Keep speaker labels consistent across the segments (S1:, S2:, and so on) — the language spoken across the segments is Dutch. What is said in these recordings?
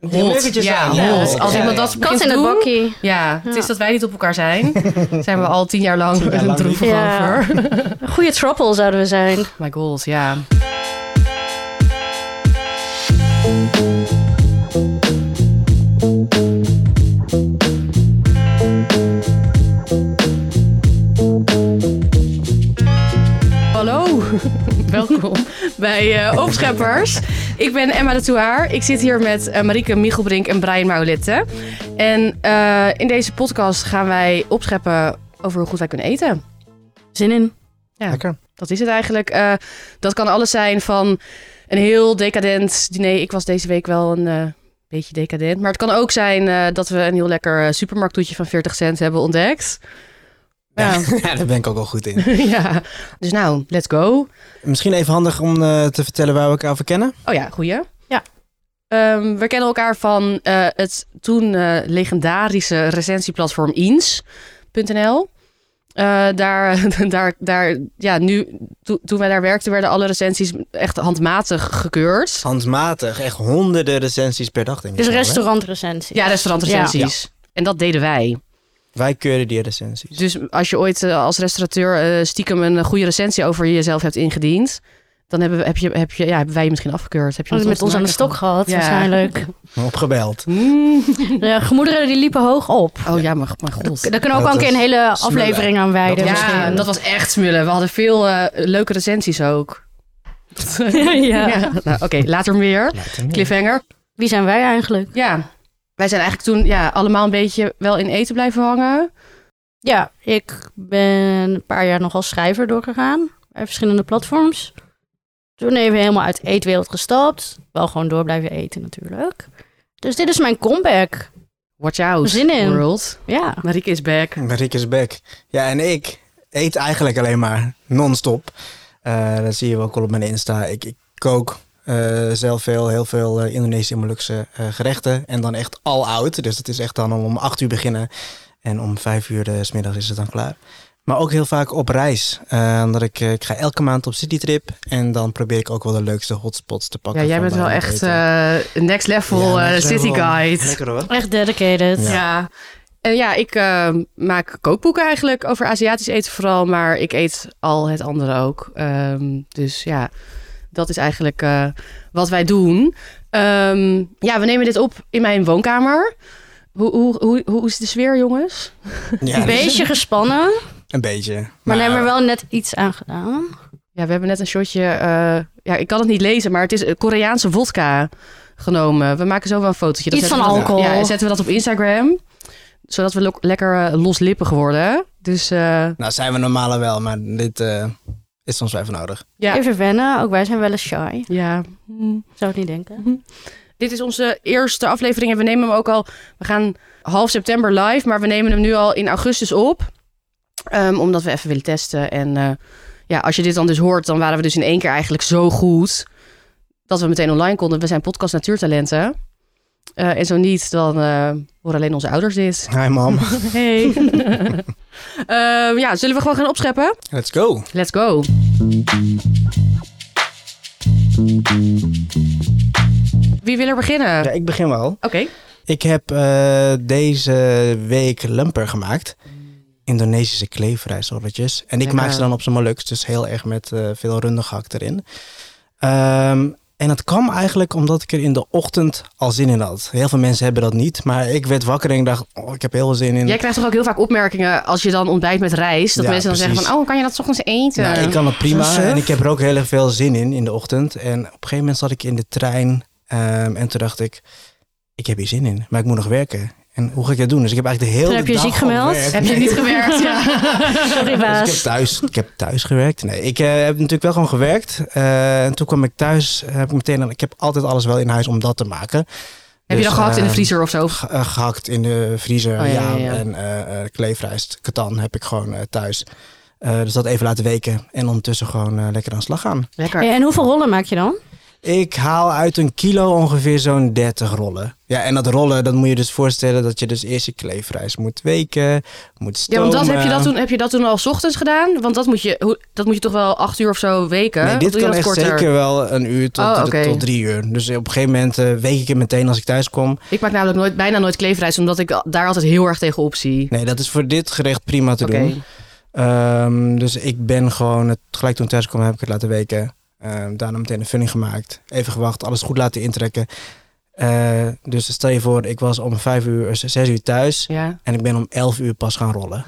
S1: Die muggetjes
S2: ja,
S1: aan.
S2: hot.
S1: Ja.
S2: Als iemand dat
S3: Kat
S2: begint
S3: in
S2: te
S3: een
S2: doen,
S3: bakkie.
S2: Ja, het is dat wij niet op elkaar zijn. zijn we al tien jaar lang
S1: Tien jaar lang
S2: droevig
S3: niet. Ja.
S2: over.
S3: Een goede troppel zouden we zijn.
S2: My goals, ja. Hallo, welkom bij eh, Opscheppers. Ik ben Emma de Touaar. Ik zit hier met eh, Marieke Michelbrink en Brian Maulette. En eh, in deze podcast gaan wij opscheppen over hoe goed wij kunnen eten.
S3: Zin in.
S1: Lekker.
S2: Dat is het eigenlijk. Eh, dat kan alles zijn van een heel decadent diner. Ik was deze week wel een eh, beetje decadent. Maar het kan ook zijn eh, dat we een heel lekker eh, supermarkttoetje van 40 cent hebben ontdekt. Ja.
S1: Ja, daar ben ik ook wel goed in.
S2: ja. Dus nou, let's go.
S1: Misschien even handig om eh, te vertellen waar we elkaar voor kennen.
S2: Oh ja, goeie.
S3: Ja.
S2: Ehm, we kennen elkaar van eh, het toen eh, legendarische recensieplatform Eens.nl. Eh, daar, daar, daar, ja, nu, to- toen wij daar werkten, werden alle recensies echt handmatig gekeurd.
S1: Handmatig, echt honderden recensies per dag denk ik.
S3: Dus
S1: wel, hè?
S3: restaurantrecensie.
S2: Ja, restaurantrecensies. En dat deden wij.
S1: Wij keuren die recensies.
S2: Dus als je ooit eh, als restaurateur eh, stiekem een goede recensie over jezelf hebt ingediend, dan hebben, we, heb je, heb je, ja, hebben wij je misschien afgekeurd. Heb je
S3: Hadden
S2: met
S3: met ons aan de stok
S2: maken
S3: gehad,
S2: Ja.
S3: waarschijnlijk.
S1: Opgebeld.
S2: gehad? Mm.
S3: De gemoederen die liepen hoog op.
S2: Oh ja, maar, maar god.
S3: Daar kunnen we ook
S1: Dat
S3: al een keer een
S1: is
S3: hele
S1: smullen.
S3: aflevering aan wijden.
S1: Dat is
S2: Ja,
S3: misschien.
S2: dat was echt smullen. We hadden veel eh, leuke recensies ook.
S3: ja.
S2: Nou, Oké, later meer. Cliffhanger.
S3: Wie zijn wij eigenlijk?
S2: Ja. Wij zijn eigenlijk toen ja, allemaal een beetje wel in eten blijven hangen.
S3: Ja, ik ben een paar jaar nog als schrijver doorgegaan. Bij verschillende platforms. Toen even helemaal uit de eetwereld gestapt. Wel gewoon door blijven eten natuurlijk. Dus dit is mijn comeback.
S2: Watch out,
S3: Zin in.
S2: world.
S3: Ja.
S2: Marieke is back.
S1: Rick is back. Ja, en ik eet eigenlijk alleen maar non-stop. Eh, dat zie je wel ook al op mijn Insta. Ik, ik kook eh, zelf veel, heel veel eh, Indonesische en Molukse eh, gerechten. En dan echt al oud. Dus dat is echt dan om acht uur beginnen. En om vijf uur eh, 's smiddags is het dan klaar. Maar ook heel vaak op reis. Eh, omdat ik, eh, ik ga elke maand op citytrip. En dan probeer ik ook wel de leukste hotspots te pakken.
S2: Ja, jij
S1: van
S2: bent wel
S1: waar we
S2: echt
S1: eten.
S2: eh, next level
S1: Ja,
S2: eh,
S1: lekker
S2: city
S1: wel.
S2: guide.
S1: Lekker hoor.
S3: Echt dedicated.
S2: Ja.
S1: Ja.
S2: En ja, ik eh, maak kookboeken eigenlijk over Aziatisch eten vooral, maar ik eet al het andere ook. Ehm, dus ja, dat is eigenlijk eh, wat wij doen. Ehm, ja, we nemen dit op in mijn woonkamer. Hoe, hoe, hoe, hoe is de sfeer, jongens?
S1: Ja,
S3: Een beetje gespannen,
S1: Een beetje. Maar, eh,
S3: maar daar hebben we wel net iets aan gedaan.
S2: Ja, we hebben net een shotje. eh, ja, ik kan het niet lezen, maar het is eh, Koreaanse vodka genomen. We maken zo wel een fotootje.
S3: Iets
S2: zetten
S3: van
S2: we dat-
S3: alcohol.
S2: Ja, zetten we dat op Instagram. Zodat we lo- lekker eh, loslippig worden. Dus eh,
S1: Nou, zijn we normale wel, maar dit eh, is soms wel even nodig.
S2: Ja.
S3: Even wennen, ook wij zijn wel eens shy.
S2: ja.
S3: Zou ik niet denken.
S2: Hmm. Dit is onze eerste aflevering en we nemen hem ook al... We gaan half september live, maar we nemen hem nu al in augustus op. Ehm, omdat we even willen testen. En eh, ja, als je dit dan dus hoort, dan waren we dus in één keer eigenlijk zo goed... dat we meteen online konden. We zijn podcast Natuurtalenten. Eh, en zo niet, dan eh, horen alleen onze ouders dit.
S1: Hi mam,
S2: Hey. Ehm, ja, zullen we gewoon gaan opscheppen?
S1: let's go.
S2: Let's go. Wie wil er beginnen?
S1: Ja, ik begin wel.
S2: Oké.
S1: Ik heb eh, deze week lumper gemaakt. Indonesische kleefrijsrolletjes. En ik
S2: Lekker.
S1: maak ze dan op zijn Molux, dus heel erg met eh, veel rundegehakt erin. Ehm, en dat kwam eigenlijk omdat ik er in de ochtend al zin in had. Heel veel mensen hebben dat niet, maar ik werd wakker en ik dacht, oh, ik heb heel veel zin in.
S2: Jij krijgt toch ook heel vaak opmerkingen als je dan ontbijt met rijst. Dat
S1: Ja,
S2: mensen dan zeggen
S1: precies.
S2: van, oh, kan je dat 's ochtends eten?
S1: Nou, ik kan het prima
S3: Zo'n surf.
S1: en ik heb er ook heel erg veel zin in in de ochtend. En op een gegeven moment zat ik in de trein ehm, en toen dacht ik, ik heb hier zin in, maar ik moet nog werken. En hoe ga ik dat doen? Dus ik heb eigenlijk de hele
S3: Toen heb je
S1: dag
S3: ziek
S1: al
S3: gemeld?
S1: werk.
S2: Heb je niet gewerkt? Ja.
S3: Sorry
S1: Dus ik,
S3: baas.
S1: heb thuis, ik heb thuis gewerkt. Nee, ik eh, heb natuurlijk wel gewoon gewerkt. Eh, en toen kwam ik thuis, eh, heb ik meteen, ik heb altijd alles wel in huis om dat te maken.
S2: Heb je
S1: Dus,
S2: dan gehakt in de
S1: ehm,
S2: vriezer of zo?
S1: ge- eh, gehakt in de vriezer.
S2: Oh, ja,
S1: ja,
S2: ja, ja.
S1: En eh eh, kleefrijst, katan heb ik gewoon eh, thuis. Eh, dus dat even laten weken en ondertussen gewoon eh, lekker aan de slag gaan.
S2: Lekker.
S3: Ja, en hoeveel rollen maak je dan?
S1: Ik haal uit een kilo ongeveer zo'n 30 rollen. Ja, en dat rollen, dat moet je dus voorstellen dat je dus eerst je kleefrijs moet weken, moet
S2: Ja,
S1: stomen.
S2: want dat heb, je dat toen, heb je dat toen al 's ochtends gedaan? Want dat moet je, hoe- dat moet je toch wel acht uur of zo weken?
S1: Nee,
S2: Of
S1: dit
S2: doe je
S1: kan
S2: dat
S1: echt
S2: korter?
S1: zeker wel een uur tot,
S2: Oh,
S1: tot-
S2: oké.
S1: tot drie uur. Dus op een gegeven moment eh, week ik het meteen als ik thuis kom.
S2: Ik maak namelijk nooit, bijna nooit kleefrijs, omdat ik daar altijd heel erg tegen op zie.
S1: Nee, dat is voor dit gerecht prima te
S2: Oké.
S1: doen. Ehm, dus ik ben gewoon, het, gelijk toen ik thuis kwam, heb ik het laten weken. Ehm, daarna meteen een vulling gemaakt. Even gewacht, alles goed laten intrekken. Eh, dus stel je voor, ik was om vijf uur, eh, zes uur thuis.
S2: Ja.
S1: En ik ben om elf uur pas gaan rollen.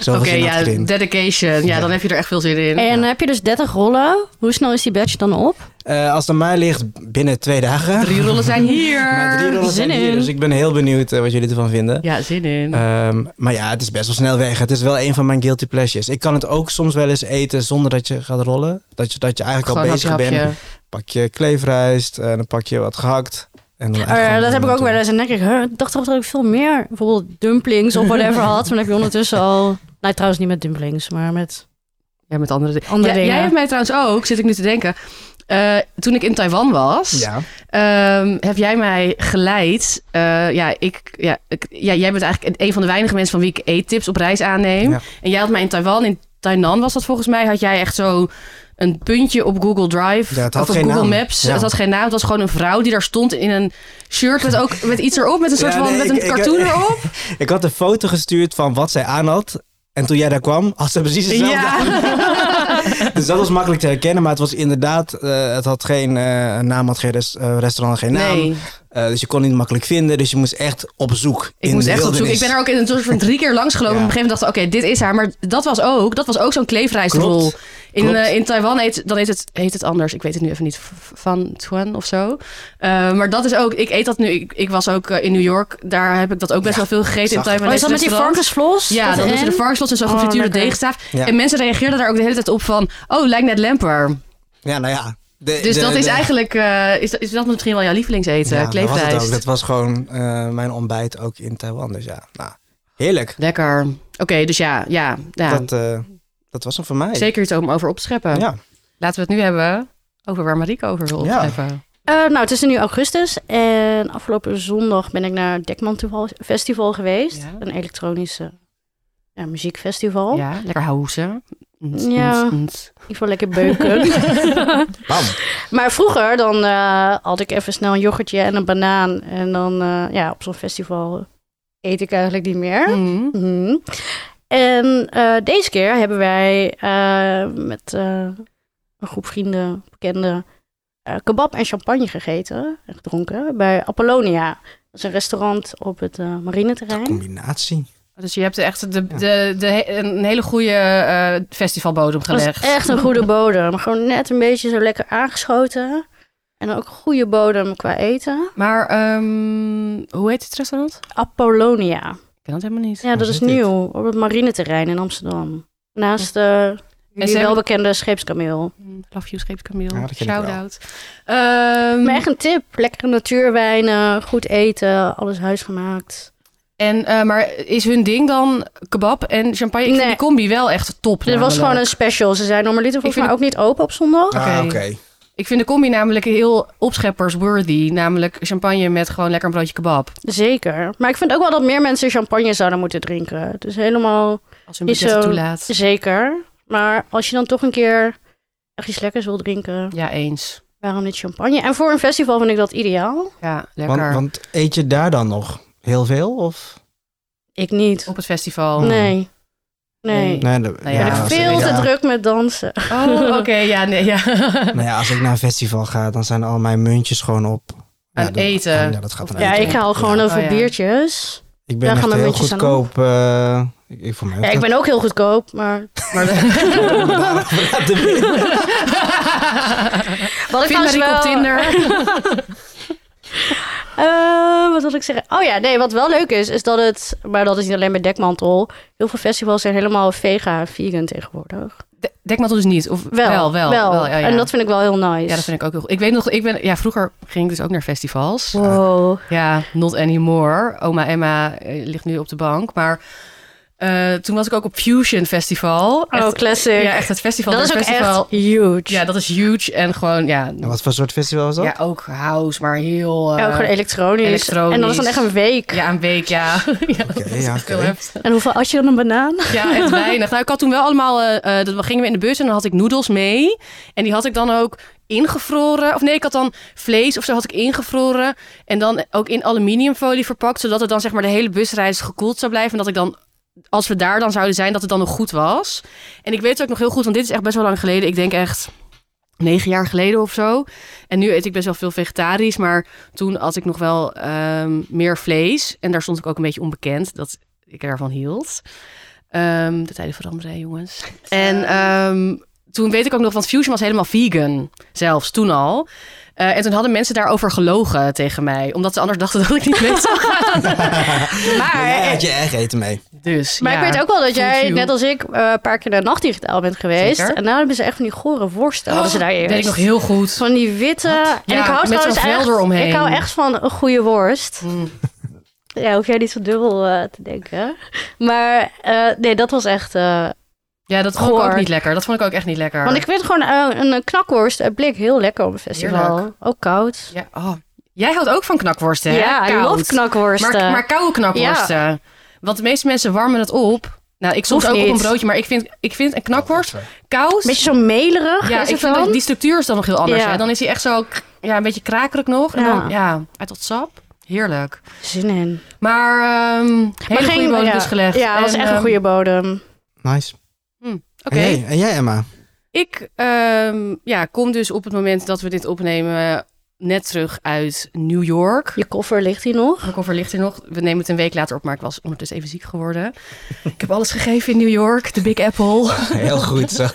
S1: Zo
S2: Oké,
S1: ging dat
S2: ja,
S1: erin.
S2: dedication. Ja, dan heb je er echt veel zin in.
S3: En heb je dus 30 rollen. Hoe snel is die badge dan op?
S1: Eh, als het aan mij ligt, binnen twee dagen.
S2: Drie rollen zijn hier.
S1: Maar drie rollen zijn
S3: Zin
S1: hier,
S3: in.
S1: dus ik ben heel benieuwd eh, wat jullie ervan vinden.
S2: Ja, zin in.
S1: Ehm, maar ja, het is best wel snel weg. Het is wel een van mijn guilty pleasures. Ik kan het ook soms wel eens eten zonder dat je gaat rollen. Dat je, dat je eigenlijk
S2: Gewoon
S1: al
S2: hapje,
S1: bezig bent.
S2: hapje.
S1: pak je kleefrijst en dan pak je wat gehakt. En dan
S3: Eh, dat heb ik ook wel eens. En dan denk ik, huh, ik dacht toch dat ik veel meer bijvoorbeeld dumplings of whatever had. Maar dan heb je ondertussen al... Nou, trouwens niet met dumplings, maar met...
S2: Ja, met andere, di-
S3: Andere
S2: Ja,
S3: dingen.
S2: Jij hebt mij trouwens ook, zit ik nu te denken. eh, toen ik in Taiwan was,
S1: Ja,
S2: ehm, heb jij mij geleid. Eh, ja, ik, ja, ik- ja, jij bent eigenlijk een van de weinige mensen van wie ik eettips op reis aanneem.
S1: Ja.
S2: En jij had mij in Taiwan, in Tainan was dat volgens mij, had jij echt zo een puntje op Google Drive
S1: Ja, het had
S2: of op
S1: geen
S2: Google
S1: naam.
S2: Maps.
S1: Ja.
S2: Het had geen naam. Het was gewoon een vrouw die daar stond in een shirt met ook met iets erop, met een soort
S1: Ja,
S2: van
S1: nee,
S2: met
S1: ik-
S2: een
S1: ik-
S2: cartoon erop.
S1: ik had een foto gestuurd van wat zij aan had. En toen jij daar kwam, had ze precies hetzelfde aan. Dus dat was makkelijk te herkennen. Maar het was inderdaad, eh, het had geen eh, naam, had geen res- eh, restaurant, had geen naam.
S2: Nee.
S1: Eh, dus je kon het niet makkelijk vinden. Dus je moest echt op zoek.
S2: Ik
S1: in
S2: moest
S1: de
S2: echt op zoek. Ik
S1: wildernis.
S2: ben er ook in een soort van drie keer langs gelopen.
S1: Ja.
S2: En op een gegeven moment dacht ik, oké, dit is haar. Maar dat was ook, dat was ook zo'n kleefrijstrol.
S1: Klopt.
S2: In,
S1: klopt.
S2: eh, in Taiwan heet, dan heet, het, heet het anders. Ik weet het nu even niet. v- Van Tuan of zo. Eh, maar dat is ook, ik eet dat nu. Ik, ik was ook eh, in New York. Daar heb ik dat ook best
S1: Ja,
S2: wel veel gegeten in
S1: zag ik.
S2: Taiwan.
S3: Oh, is dat met die varkensvloss?
S2: Ja,
S3: Dat
S2: dan doen ze
S3: en?
S2: de varkenslots en zo'n
S3: Oh,
S2: gefrituurde
S3: lekker.
S2: deegstaaf.
S1: Ja.
S2: En mensen reageerden daar ook de hele tijd op van... Oh, lijkt net lemper.
S1: Ja, nou ja. De-
S2: Dus
S1: de-
S2: dat is
S1: de-
S2: eigenlijk... eh, is, dat, is dat misschien wel jouw lievelingseten?
S1: Ja, dat was, het ook.
S2: kleefrijst.
S1: dat was gewoon eh, mijn ontbijt ook in Taiwan. Dus ja, nou, heerlijk.
S2: Lekker. Oké, dus ja. ja, ja.
S1: Dat, eh, dat was hem voor mij.
S2: Zeker iets om over op te scheppen.
S1: Ja.
S2: Laten we het nu hebben over waar Marieke over wil
S1: Ja.
S2: opscheppen.
S3: Eh, nou, het is nu augustus en afgelopen zondag ben ik naar het Dekman Toeval- Festival geweest.
S2: Ja.
S3: Een elektronische ja,
S1: Oh.
S3: muziekfestival.
S2: Ja, lekker houden.
S3: Ja. Ik vond lekker beuken.
S1: Bam.
S3: maar vroeger dan eh, had ik even snel een yoghurtje en een banaan. En dan eh, ja, op zo'n festival eet ik eigenlijk niet meer.
S2: Mm. Oh,
S3: Mhm. En eh, deze keer hebben wij eh, met eh, een groep vrienden, bekenden, eh, kebab en champagne gegeten en gedronken bij Apollonia. Dat is een restaurant op het eh, marineterrein.
S1: Combinatie.
S2: Dus je hebt echt de,
S1: Ja.
S2: de, de, he- een hele goede eh, festivalbodem
S3: Dat is
S2: gelegd.
S3: echt een goede bodem. Gewoon net een beetje zo lekker aangeschoten. En ook een goede bodem qua eten.
S2: Maar ehm, hoe heet het restaurant?
S3: Apollonia.
S2: Ik ken dat helemaal niet.
S3: Ja, dat is
S1: zit dit?
S3: nieuw. Op het marineterrein in Amsterdam. Naast eh, de jullie
S2: hebben-
S3: welbekende scheepskameel.
S2: Mm, Love You Scheeps Camille.
S1: Ja, dat ken ik wel.
S2: Shout-out. Ehm,
S3: Maar echt een tip. Lekkere natuurwijnen, goed eten, alles huisgemaakt.
S2: en, eh, maar is hun ding dan kebab en champagne? Ik vind
S3: Nee.
S2: die combi wel echt top.
S3: Dit was
S2: namelijk.
S3: gewoon een special. Ze zijn normaliter volgens
S2: vind
S3: mij ook niet open op zondag.
S2: Oké.
S1: Ah, Oké.
S2: Ik vind de combi namelijk heel opscheppers-worthy. Namelijk champagne met gewoon lekker een broodje kebab.
S3: Zeker. Maar ik vind ook wel dat meer mensen champagne zouden moeten drinken. Dus helemaal
S2: Als hun
S3: Is
S2: budget
S3: zo.
S2: toelaat.
S3: zeker. Maar als je dan toch een keer echt iets lekkers wil drinken,
S2: Ja, eens.
S3: waarom niet champagne? En voor een festival vind ik dat ideaal.
S2: Ja, lekker.
S1: Want, want eet je daar dan nog heel veel? Of?
S3: Ik niet.
S2: Op het
S1: Oh.
S2: festival.
S3: Nee. Nee.
S2: Nee.
S1: de-
S2: Nou ja, als-
S3: Ben ik
S1: als-
S3: veel
S1: ja.
S3: te druk met dansen.
S2: Oh, oké. ja, nee, ja.
S1: Nou ja, als ik naar een festival ga, dan zijn al mijn muntjes gewoon op.
S2: Aan
S1: ja, dat- oh,
S2: eten.
S1: Ja, dat gaat
S2: Of-
S1: aan
S3: Ja,
S1: eten.
S3: ik haal gewoon
S1: Ja.
S3: over
S2: Oh, ja.
S3: biertjes.
S1: Ik ben
S3: daar
S1: echt
S3: gaan mijn
S1: heel
S3: muntjes aan
S1: goedkoop. eh, ik, ik, voor mij
S3: Ja, ik ben ook heel goedkoop, maar
S2: Maar
S3: Wat ik
S2: Vind
S3: trouwens
S2: Marieke
S3: wel...
S2: op Tinder.
S3: Eh, wat wil ik zeggen? Oh ja, nee, wat wel leuk is, is dat het... Maar dat is niet alleen bij Dekmantel. Heel veel festivals zijn helemaal vega, vegan tegenwoordig.
S2: De- Dekmantel dus niet. Of wel, wel. wel, ja, ja.
S3: En dat vind ik wel heel nice.
S2: ja, dat vind ik ook heel goed. Ik weet nog, ik ben, ja, vroeger ging ik dus ook naar festivals.
S3: Wow.
S2: Ja, not anymore. Oma Emma eh, ligt nu op de bank. Maar eh, Eh, toen was ik ook op Fusion Festival.
S3: Oh,
S2: echt,
S3: classic.
S2: ja, echt het festival.
S3: dat is
S2: der
S3: ook
S2: festival.
S3: echt huge.
S2: Ja, dat is huge. En gewoon, ja,
S1: En wat voor soort festival was dat?
S2: ja ook house, maar heel... eh,
S3: Ja, ook gewoon elektronisch.
S2: elektronisch.
S3: En dat is dan echt een week.
S2: ja, een week, ja. ja, dat
S1: Oké,
S2: is
S1: ja,
S2: echt heel
S1: oké.
S2: heftig.
S3: En hoeveel als je dan een banaan?
S2: Ja, echt weinig. Nou, ik had toen wel allemaal... eh, eh, dat we gingen we in de bus en dan had ik noedels mee. En die had ik dan ook ingevroren. Of nee, ik had dan vlees of zo had ik ingevroren. En dan ook in aluminiumfolie verpakt. Zodat het dan zeg maar de hele busreis gekoeld zou blijven. En dat ik dan, als we daar dan zouden zijn, dat het dan nog goed was. En ik weet het ook nog heel goed, want dit is echt best wel lang geleden. Ik denk echt... Negen jaar geleden of zo. En nu eet ik best wel veel vegetarisch. Maar toen had ik nog wel ehm, meer vlees. En daar stond ik ook een beetje onbekend dat ik daarvan hield. Ehm, de tijden veranderen, hè, jongens. En ehm, toen weet ik ook nog, want Fusion was helemaal vegan. Zelfs toen al. Eh, en toen hadden mensen daarover gelogen tegen mij. Omdat ze anders dachten dat ik niet mee zou gaan.
S1: Maar
S2: maar,
S1: jij had je eigen eten mee.
S2: dus,
S3: Maar
S2: ja.
S3: ik weet ook wel dat
S2: Full
S3: jij,
S2: view.
S3: net als ik, eh, een paar keer naar nachtdigitaal bent geweest.
S2: Zeker.
S3: En nou hebben ze echt van die gore worsten. hadden ze daar
S2: Dat
S3: eerst.
S2: weet ik nog heel goed.
S3: Van die witte. en
S2: Ja,
S3: ik hou
S2: met
S3: trouwens
S2: zo'n vel
S3: echt,
S2: eromheen.
S3: Ik hou echt van een goede worst.
S2: Mm.
S3: Ja, hoef jij niet zo dubbel eh, te denken. Maar eh, nee, dat was echt. eh,
S2: Ja, dat vond ik
S3: Goor.
S2: ook niet lekker. Dat vond ik ook echt niet lekker.
S3: want ik vind gewoon eh, een, een knakworst uit blik heel lekker op een festival.
S2: Heerlijk.
S3: Ook koud.
S2: Ja, oh. Jij houdt ook van knakworsten, hè?
S3: Ja, ik
S2: Koud.
S3: love knakworsten.
S2: Maar, maar koude knakworsten. Want de meeste mensen warmen het op. Nou, ik soms
S3: Hoeft
S2: ook op een
S3: niet.
S2: broodje. Maar ik vind, ik vind een knakworst koud...
S3: beetje zo melerig.
S2: Ja,
S3: is
S2: ik
S3: het
S2: vind
S3: dan?
S2: dat die structuur is dan nog heel anders.
S3: Ja.
S2: Hè? Dan is hij echt zo k- ja, een beetje krakerig nog. En
S3: Ja.
S2: dan ja, uit dat sap. Heerlijk.
S3: Zin in.
S2: Maar ehm hele
S3: geen-
S2: goede bodem
S3: ja.
S2: dus gelegd.
S3: Ja, dat was
S2: En,
S3: echt een
S2: ehm,
S3: goede bodem.
S1: Nice.
S2: Oké.
S1: En, jij, en jij, Emma?
S2: Ik ehm, ja, kom dus op het moment dat we dit opnemen net terug uit New York.
S3: Je koffer ligt hier nog.
S2: Mijn koffer ligt er nog. We nemen het een week later op, maar ik was ondertussen even ziek geworden. ik heb alles gegeven in New York, de Big Apple.
S1: Heel goed, zo,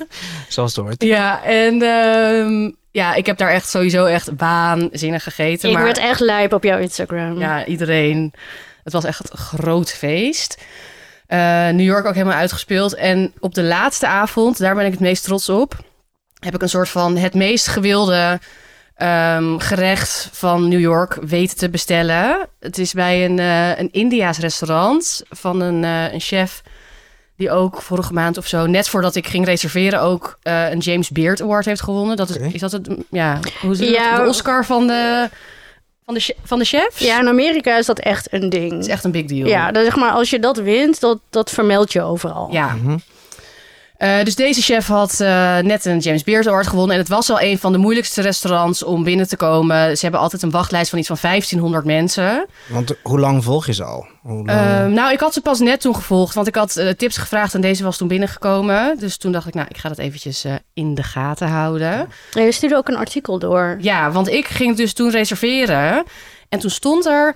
S1: zoals het hoort.
S2: ja, en ehm, ja, ik heb daar echt sowieso echt waanzinnig gegeten.
S3: Ik
S2: maar...
S3: werd echt lijp op jouw Instagram.
S2: Ehm, Ja, iedereen. Het was echt een groot feest. Eh, New York ook helemaal uitgespeeld. En op de laatste avond, daar ben ik het meest trots op, heb ik een soort van het meest gewilde ehm, gerecht van New York weten te bestellen. Het is bij een, eh, een Indiaas restaurant van een, eh, een chef die ook vorige maand of zo, net voordat ik ging reserveren, ook eh, een James Beard Award heeft gewonnen. Dat is,
S1: Oké.
S2: is dat het, ja, hoe ze
S3: Ja.
S2: de Oscar van de, van de, che- van de chefs?
S3: Ja, in Amerika is dat echt een ding.
S2: Het is echt een big deal.
S3: Ja, dat, zeg maar, als je dat wint, dat, dat vermeld je overal.
S2: Ja.
S1: Mhm.
S2: Eh, dus deze chef had eh, net een James Beard Award gewonnen. En het was al een van de moeilijkste restaurants om binnen te komen. Ze hebben altijd een wachtlijst van iets van 1500 mensen.
S1: Want hoe lang volg je ze al? Hoe lang-
S2: Ehm, nou, ik had ze pas net toen gevolgd. Want ik had eh, tips gevraagd en deze was toen binnengekomen. Dus toen dacht ik, nou, ik ga dat eventjes eh, in de gaten houden.
S3: En je stuurde ook een artikel door.
S2: Ja, want ik ging dus toen reserveren. En toen stond er...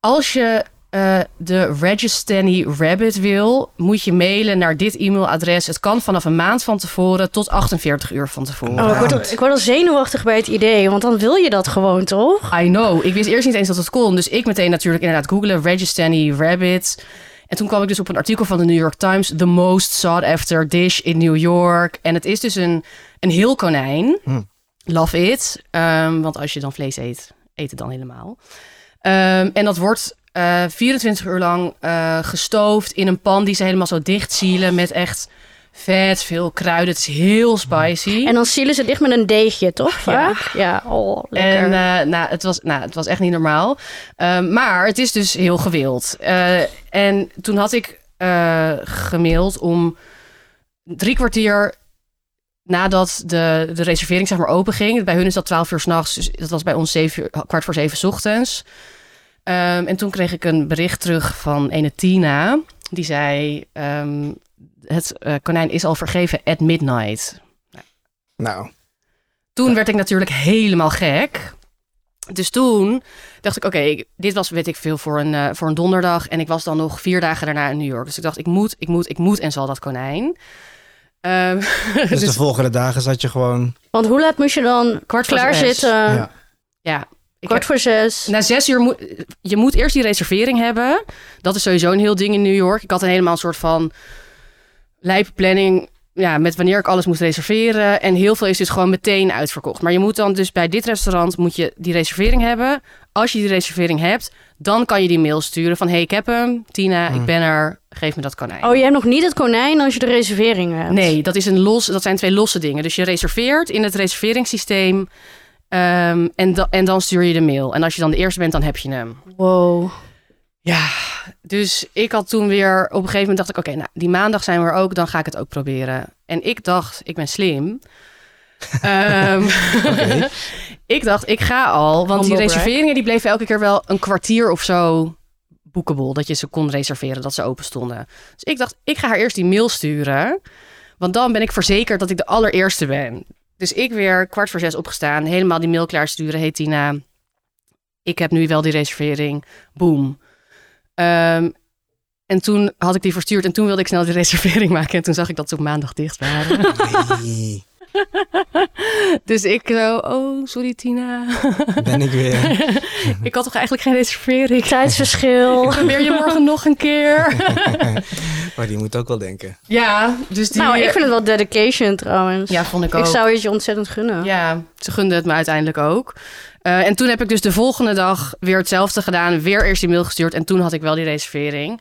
S2: Als je eh, de Rajasthani Rabbit wil... moet je mailen naar dit e-mailadres. Het kan vanaf een maand van tevoren tot 48 uur van tevoren.
S3: Oh, ik, word al, ik word al zenuwachtig bij het idee, want dan wil je dat gewoon, toch?
S2: I know. Ik wist eerst niet eens dat het kon. Dus ik meteen natuurlijk inderdaad googelen. Rajasthani Rabbit. En toen kwam ik dus op een artikel van de New York Times. The most sought after dish in New York. En het is dus een, een heel konijn.
S1: Hmm.
S2: Love it. Ehm, want als je dan vlees eet, eet het dan helemaal. Ehm, en dat wordt eh, 24 uur lang eh, gestoofd in een pan die ze helemaal zo dicht zielen. Met echt vet veel kruiden. Het is heel spicy.
S3: En dan zielen ze dicht met een deegje, toch? Vaak? Ja, oh, lekker.
S2: En eh, nou, het was, nou, het was echt niet normaal. Ehm, maar het is dus heel gewild. Eh, en toen had ik eh, gemaild om drie kwartier nadat de, de reservering zeg maar open ging. Bij hun is dat 12 uur s'nachts, dus dat was bij ons zeven uur, kwart voor zeven 's ochtends. Ehm, en toen kreeg ik een bericht terug van ene Tina. Die zei, ehm, het eh, konijn is al vergeven at midnight.
S1: Nou,
S2: Toen werd ik natuurlijk helemaal gek. Dus toen dacht ik, oké, ik- dit was, weet ik veel, voor een, eh, voor een donderdag. En ik was dan nog vier dagen daarna in New York. Dus ik dacht, ik moet, ik moet, ik moet en zal dat konijn. Ehm,
S1: dus, de
S2: dus
S1: volgende dagen zat je gewoon...
S3: Want hoe laat moest je dan
S2: kwart voor
S3: klaar
S2: zes.
S3: zitten?
S1: ja.
S2: Ja. Ik
S3: Kwart voor zes.
S2: Na zes uur moet je moet eerst die reservering hebben. Dat is sowieso een heel ding in New York. Ik had een helemaal soort van lijpe planning. ja, met wanneer ik alles moest reserveren. En heel veel is dus gewoon meteen uitverkocht. Maar je moet dan dus bij dit restaurant moet je die reservering hebben. Als je die reservering hebt, dan kan je die mail sturen van... hey, ik heb hem. Tina, ik
S1: Hmm.
S2: ben er. Geef me dat konijn.
S3: Oh, je hebt nog niet het konijn als je de reservering hebt.
S2: Nee, dat, is een los, dat zijn twee losse dingen. Dus je reserveert in het reserveringssysteem... ehm, en, da- en dan stuur je de mail. En als je dan de eerste bent, dan heb je hem.
S3: Wow.
S2: Ja, dus ik had toen weer op een gegeven moment dacht ik, oké, nou die maandag zijn we er ook, dan ga ik het ook proberen. En ik dacht, ik ben slim. Ehm,
S1: Oké.
S2: ik dacht, ik ga al, want die
S3: Humble brag.
S2: reserveringen die bleven elke keer wel een kwartier of zo boekable, dat je ze kon reserveren, dat ze open stonden. Dus ik dacht, ik ga haar eerst die mail sturen, want dan ben ik verzekerd dat ik de allereerste ben. Dus ik weer kwart voor zes opgestaan, helemaal die mail klaarsturen, hey Tina, ik heb nu wel die reservering, boom. Ehm, en toen had ik die verstuurd en toen wilde ik snel die reservering maken. En toen zag ik dat ze op maandag dicht waren.
S1: Nee,
S2: dus ik zo, oh, sorry Tina.
S1: ben ik weer.
S2: ik had toch eigenlijk geen reservering?
S3: Tijdsverschil.
S2: Ik probeer je morgen nog een keer.
S1: Maar die moet ook wel denken.
S2: Ja, dus die...
S3: nou, ik vind het wel dedication trouwens.
S2: Ja, vond ik ook.
S3: ik zou het je ontzettend gunnen.
S2: Ja, ze gunde het me uiteindelijk ook. Eh, en toen heb ik dus de volgende dag weer hetzelfde gedaan. Weer eerst die mail gestuurd. En toen had ik wel die reservering.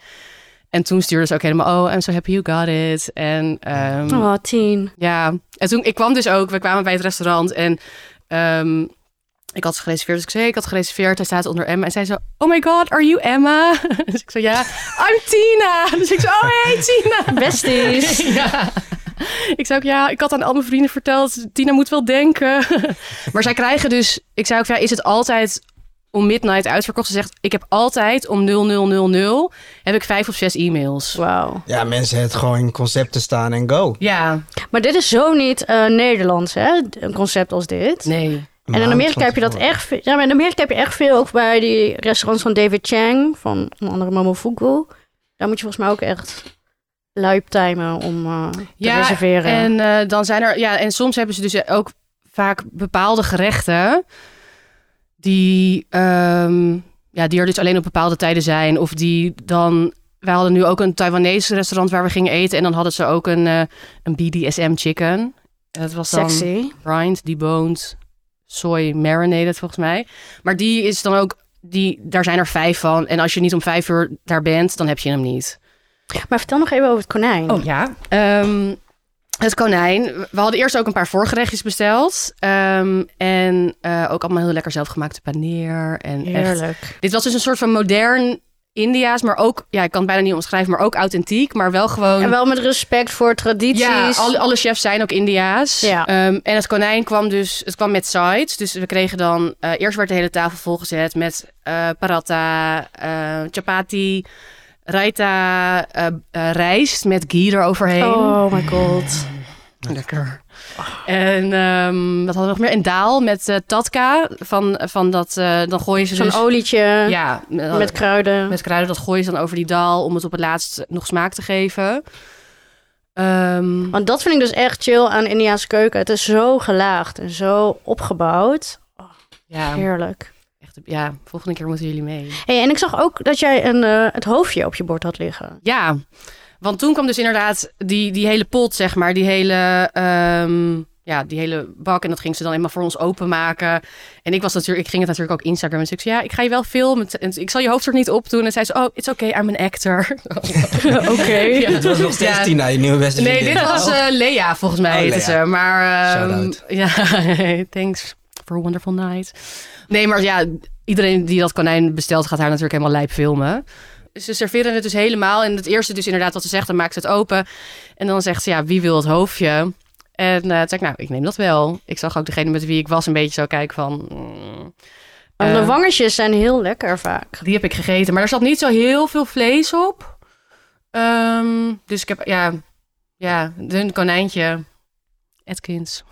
S2: En toen stuurde ze ook helemaal... Oh, I'm so happy you got it. En ehm,
S3: Oh, tien.
S2: Ja, en toen ik kwam dus ook, we kwamen bij het restaurant en ehm, ik had ze gereserveerd. Dus ik zei, hey, ik had gereserveerd. Hij staat onder Emma. En zij zo, oh my god, are you Emma? Dus ik zo, ja, I'm Tina. Dus ik zo, oh hey Tina.
S3: Besties.
S2: Ja. Ik zei ook, ja, ik had aan al mijn vrienden verteld, Tina moet wel denken. Maar zij krijgen dus, ik zei ook, ja, is het altijd om midnight uitverkocht? Ze zegt, ik heb altijd om 0000 heb ik vijf of zes e-mails.
S3: Wauw.
S1: Ja, mensen het gewoon concepten staan en go.
S2: Ja,
S3: Maar dit is zo niet eh, Nederlands, hè? Een concept als dit.
S2: nee.
S3: En in
S1: Maand
S3: Amerika
S1: van
S3: heb je dat
S1: tevoren.
S3: echt veel. Ja, maar in Amerika heb je echt veel. Ook bij die restaurants van David Chang, van onder andere Momofuku. Daar moet je volgens mij ook echt luip timen om eh, te
S2: Ja,
S3: reserveren.
S2: En eh, dan zijn er, ja, en soms hebben ze dus ook vaak bepaalde gerechten die, ehm, ja, die er dus alleen op bepaalde tijden zijn. Of die dan. Wij hadden nu ook een Taiwanese restaurant waar we gingen eten. En dan hadden ze ook een, eh, een BDSM chicken. En Dat was dan
S3: Sexy.
S2: brined, deboned, soy marinated volgens mij. Maar die is dan ook, die, daar zijn er vijf van. En als je niet om vijf uur daar bent, dan heb je hem niet.
S3: Maar vertel nog even over het konijn.
S2: Oh ja. Ehm, het konijn. We hadden eerst ook een paar voorgerechtjes besteld. Ehm, en eh, ook allemaal heel lekker zelfgemaakte paneer. En echt.
S3: Heerlijk.
S2: Dit was dus een soort van modern India's, maar ook, ja, ik kan het bijna niet omschrijven, maar ook authentiek. Maar wel gewoon.
S3: En wel met respect voor tradities.
S2: Oh. ja, alle, alle chefs zijn ook India's.
S3: Ja.
S2: Ehm, en het konijn kwam dus, het kwam met sides. Dus we kregen dan, eh, eerst werd de hele tafel volgezet met eh, paratha, eh, chapati, raita, eh, eh, rijst met ghee eroverheen.
S3: Oh my god.
S2: Lekker. En ehm, wat hadden we nog meer? En daal met eh, tatka. Van, van dat, eh, dan gooien ze
S3: Zo'n
S2: dus...
S3: olietje
S2: Ja, met,
S3: met kruiden.
S2: met kruiden. Dat gooien ze dan over die daal om het op het laatst nog smaak te geven. Ehm,
S3: Want dat vind ik dus echt chill aan Indiaanse keuken. Het is zo gelaagd en zo opgebouwd.
S2: ja,
S3: Heerlijk.
S2: echt, ja, volgende keer moeten jullie mee.
S3: Hey, en ik zag ook dat jij een, eh, het hoofdje op je bord had liggen.
S2: Ja, want toen kwam dus inderdaad die, die hele pot, zeg maar, die hele, ehm, ja, die hele bak. En dat ging ze dan helemaal voor ons openmaken. En ik was natuurlijk, ik ging het natuurlijk ook Instagram. Dus ik zei, ja, ik ga je wel filmen. En ik zal je hoofd er niet op doen. En zei ze, oh, it's okay, I'm an actor. Oké.
S1: Het was nog steeds
S2: Ja.
S1: Tina, je nieuwe beste
S2: Nee,
S1: vriendin.
S2: dit was eh, Lea, volgens mij
S1: Oh,
S2: heette
S1: Lea.
S2: ze. Maar, ehm,
S1: Shout-out.
S2: ja, thanks for a wonderful night. Nee, maar ja, iedereen die dat konijn bestelt gaat haar natuurlijk helemaal lijp filmen. Ze serveren het dus helemaal. En het eerste dus inderdaad wat ze zegt, dan maakt ze het open. En dan zegt ze, ja, wie wil het hoofdje? En eh toen zei ik, nou, ik neem dat wel. Ik zag ook degene met wie ik was een beetje zo kijken van... mm,
S3: Want
S2: eh,
S3: de wangetjes zijn heel lekker vaak.
S2: die heb ik gegeten. Maar er zat niet zo heel veel vlees op. Ehm, dus ik heb, ja, ja, dun konijntje. Atkins.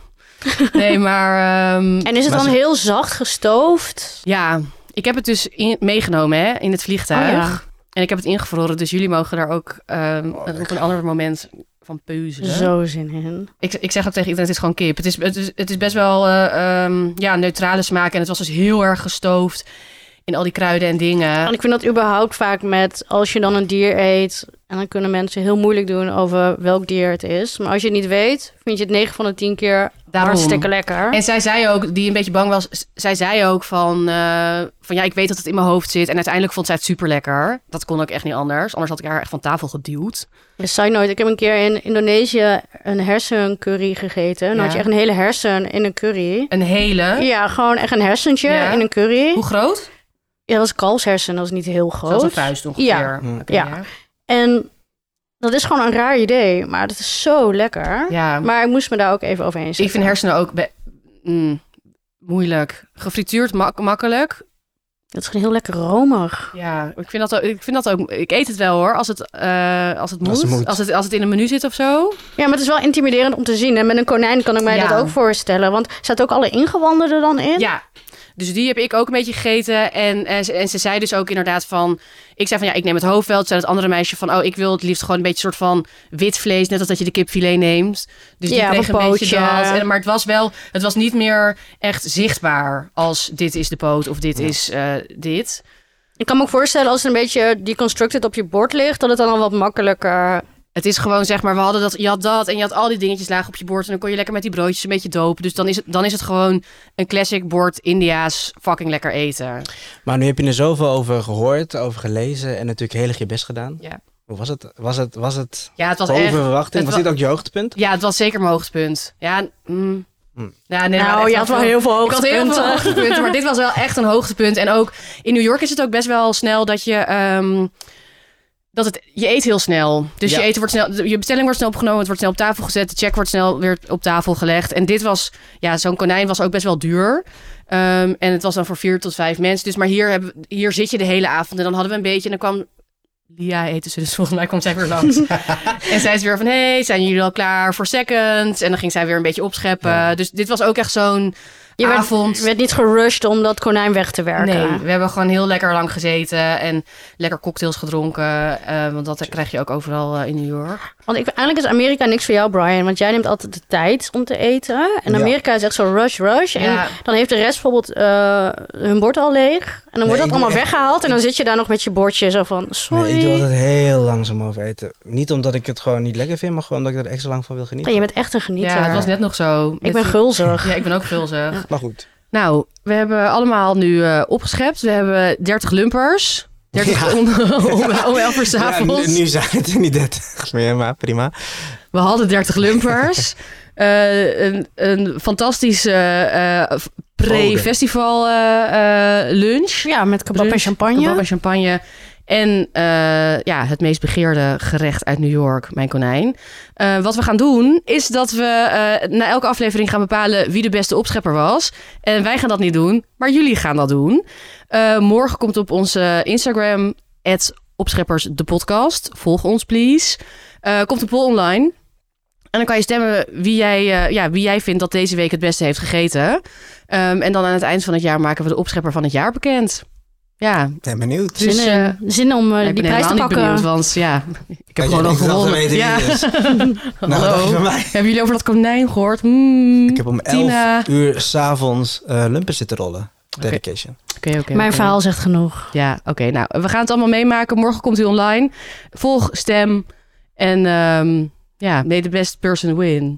S2: Nee, maar ehm,
S3: En is het
S1: Maar
S3: dan
S1: ze-
S3: heel zacht gestoofd?
S2: ja, ik heb het dus in- meegenomen hè, in het vliegtuig.
S3: Oh ja.
S2: En ik heb het ingevroren, dus jullie mogen daar ook ehm,
S1: Oh,
S2: op een ander moment van peuzelen.
S3: Zo zin in.
S2: Ik, ik zeg ook tegen iedereen, het is gewoon kip. Het is, het is, het is best wel eh, ehm, ja, neutrale smaak en het was dus heel erg gestoofd. in al die kruiden en dingen.
S3: En ik vind dat überhaupt vaak met als je dan een dier eet. En dan kunnen mensen heel moeilijk doen over welk dier het is. Maar als je het niet weet, vind je het 9 van de 10 keer
S2: Daarom.
S3: hartstikke lekker.
S2: En zij zei ook, die een beetje bang was, z- zij zei ook van, eh, van ja, ik weet dat het in mijn hoofd zit. En uiteindelijk vond zij het super lekker. Dat kon ook echt niet anders. Anders had ik haar echt van tafel geduwd.
S3: Dus zei nooit, ik heb een keer in Indonesië een hersencurry gegeten. Dan
S2: Ja.
S3: had je echt een hele hersen in een curry.
S2: Een hele.
S3: Ja, gewoon echt een hersentje
S2: Ja.
S3: in een curry.
S2: Hoe groot?
S3: Ja, dat was kalfshersen, dat is niet heel
S2: Zoals een
S3: groot.
S2: vuist ongeveer.
S3: Ja.
S1: Mm.
S2: Oké,
S3: Ja.
S2: ja.
S3: En dat is gewoon een raar idee, maar dat is zo lekker.
S2: Ja.
S3: Maar ik moest me daar ook even overheen zetten.
S2: Ik vind hersenen ook be- mm, moeilijk. Gefrituurd mak- makkelijk.
S3: Dat is gewoon heel lekker romig.
S2: Ja, ik vind, dat ook, ik vind dat ook. Ik eet het wel hoor, als het, eh, als het moet.
S1: Als
S2: Als
S1: het
S2: het,
S1: moet.
S2: Als, het, in een menu zit of zo.
S3: Ja, maar het is wel intimiderend om te zien. En met een konijn kan ik mij
S2: Ja.
S3: dat ook voorstellen. Want staat ook alle ingewanden er dan in?
S2: Ja. Dus die heb ik ook een beetje gegeten. En, en, ze, en ze zei dus ook inderdaad van... Ik zei van ja, ik neem het hoofd wel. Toen zei het andere meisje van... Oh, ik wil het liefst gewoon een beetje soort van wit vlees. Net als dat je de kipfilet neemt. Dus die
S3: Ja,
S2: kreeg
S3: of een
S2: een beetje
S3: pootje.
S2: dat. En, maar het was wel... Het was niet meer echt zichtbaar als dit is de poot of dit is eh, dit.
S3: Ik kan me ook voorstellen als het een beetje deconstructed op je bord ligt, dat het dan al wat makkelijker.
S2: Het is gewoon zeg maar, we hadden dat, je had dat en je had al die dingetjes laag op je bord. En dan kon je lekker met die broodjes een beetje dopen. Dus dan is het, dan is het gewoon een classic bord India's fucking lekker eten.
S1: Maar nu heb je er zoveel over gehoord, over gelezen en natuurlijk heel erg je best gedaan.
S2: Ja.
S1: Hoe was het? Was het, was het
S2: Ja, het was
S1: boven
S2: echt...
S1: verwachting?
S2: het
S1: Was
S2: wa-
S1: dit ook je hoogtepunt?
S2: Ja, het was zeker mijn hoogtepunt. Ja, mm.
S1: Mm.
S2: ja nee, er waren
S3: nou,
S2: echt
S3: je had wel heel veel
S2: Ik had heel veel
S3: hoogtepunten.
S1: eh.
S2: hoogtepunten, maar dit was wel echt een hoogtepunt. En ook in New York is het ook best wel snel dat je... ehm, dat het, je eet heel snel. Dus
S1: Ja.
S2: je, eten wordt snel, je bestelling wordt snel opgenomen, het wordt snel op tafel gezet. De check wordt snel weer op tafel gelegd. En dit was, ja, zo'n konijn was ook best wel duur. Ehm, en het was dan voor vier tot vijf mensen. Dus maar hier, hebben, we- hier zit je de hele avond. En dan hadden we een beetje. En dan kwam Lia eten ze. Dus volgens mij kwam zij weer langs. en zij is weer van: hey, zijn jullie al klaar voor seconds? En dan ging zij weer een beetje opscheppen.
S1: Ja.
S2: Dus dit was ook echt zo'n
S3: Je werd-
S2: avond.
S3: Je werd niet gerushed om dat konijn weg te werken.
S2: Ah, Nee, we hebben gewoon heel lekker lang gezeten en lekker cocktails gedronken. eh, want dat krijg je ook overal eh, in New York.
S3: Want ik, eigenlijk is Amerika niks voor jou, Brian. Want jij neemt altijd de tijd om te eten. En
S1: Ja.
S3: Amerika is echt zo rush, rush. En
S2: Ja.
S3: dan heeft de rest bijvoorbeeld eh, hun bord al leeg. En
S1: Nee,
S3: dan wordt
S1: ik
S3: dat allemaal
S1: doe echt-
S3: weggehaald. En dan zit je daar nog met je bordje zo van,
S1: Nee,
S3: sorry.
S1: ik doe altijd heel langzaam over eten. Niet omdat ik het gewoon niet lekker vind, maar gewoon omdat ik er extra lang van wil
S3: Ja,
S1: genieten.
S3: je bent echt een genieter.
S2: Ja, het was net nog zo.
S3: Ik
S2: Met-
S3: ben gulzig.
S2: Ja, ik ben ook gulzig.
S1: Maar goed.
S2: Nou, we hebben allemaal nu eh, opgeschept. We hebben 30 lumpers. 30
S1: Ja.
S2: om, om, om 11 uur 's
S1: Ja,
S2: avonds.
S1: nu, nu zijn het er niet 30 meer, maar prima.
S2: We hadden 30 lumpers. Eh, een, een fantastische eh, eh, pre-festival eh, eh, lunch.
S3: Ja, met kebab
S2: Brunch,
S3: en champagne.
S2: Kebab en champagne. En eh, ja, het meest begeerde gerecht uit New York, mijn konijn. Eh, wat we gaan doen, is dat we eh, na elke aflevering gaan bepalen wie de beste opschepper was. En wij gaan dat niet doen, maar jullie gaan dat doen. Eh, morgen komt op onze Instagram, opscheppers de podcast. Volg ons, please. Eh, komt een poll online. En dan kan je stemmen wie jij, eh, ja, wie jij vindt dat deze week het beste heeft gegeten. Ehm, en dan aan het eind van het jaar maken we de opschepper van het jaar bekend. Ja,
S1: Ben benieuwd.
S2: dus,
S3: zin, in, zin om eh,
S2: ik
S3: die
S2: ben
S3: prijs
S2: helemaal
S3: te
S2: niet
S3: pakken.
S2: benieuwd, want ja, ik heb
S1: Weet je,
S2: gewoon al
S1: ik zal
S2: gewonnen.
S1: weten wie
S2: ja.
S1: het is. Nou,
S2: Hallo.
S1: dat is van mij.
S2: Hebben jullie over dat konijn gehoord? Hmm.
S1: Ik heb om 11
S2: Tina.
S1: uur s'avonds eh lumpen zitten rollen. Dedication.
S2: Oké, oké,
S3: Mijn
S2: oké.
S3: verhaal zegt genoeg.
S2: Ja, oké. nou, we gaan het allemaal meemaken. Morgen komt hij online. Volg, stem en ehm, ja, may the best person win.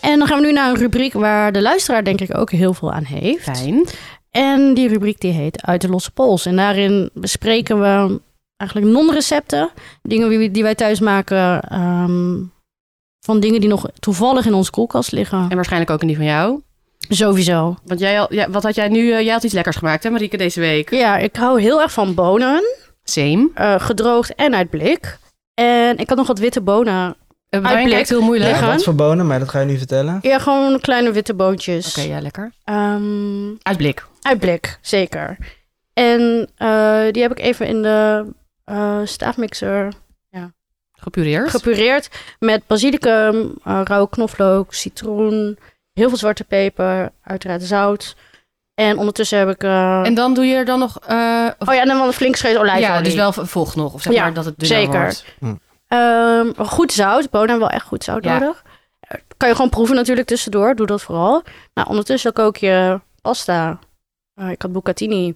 S3: En dan gaan we nu naar een rubriek waar de luisteraar denk ik ook heel veel aan heeft.
S2: Fijn.
S3: En die rubriek die heet Uit de Losse Pols. En daarin bespreken we eigenlijk non-recepten. Dingen die, we- die wij thuis maken ehm, van dingen die nog toevallig in onze koelkast liggen.
S2: En waarschijnlijk ook in die van jou.
S3: Sowieso.
S2: Want jij al, ja, wat had jij nu? eh, jij had iets lekkers gemaakt, hè, Marieke, deze week?
S3: Ja, ik hou heel erg van bonen.
S2: Same.
S3: eh, gedroogd en uit blik. En ik had nog wat witte bonen.
S2: Uh,
S3: Uitblik.
S2: kijkt heel moeilijk.
S1: Ja,
S3: Liggen.
S1: wat voor bonen, maar dat ga je nu vertellen.
S3: Ja, gewoon kleine witte boontjes.
S2: Oké, ja, lekker.
S3: Ehm,
S2: Uitblik.
S3: uit blik, zeker. En eh, die heb ik even in de eh, staafmixer
S2: Gepureerd.
S3: gepureerd met basilicum, eh, rauwe knoflook, citroen, heel veel zwarte peper, uiteraard zout. En ondertussen heb ik... eh,
S2: en dan doe je er dan nog... eh, of- dus
S3: oh ja, en dan wel een flink scheet olijfolie.
S2: ja, dus wel vocht nog. Of zeg
S3: Ja,
S2: maar dat het dunner
S3: zeker.
S2: wordt.
S3: Ehm, goed zout. Bonen hebben wel echt goed zout
S2: Ja.
S3: nodig. Eh, Kan je gewoon proeven natuurlijk tussendoor. Doe dat vooral. Nou, ondertussen kook je pasta. Eh, ik had bucatini.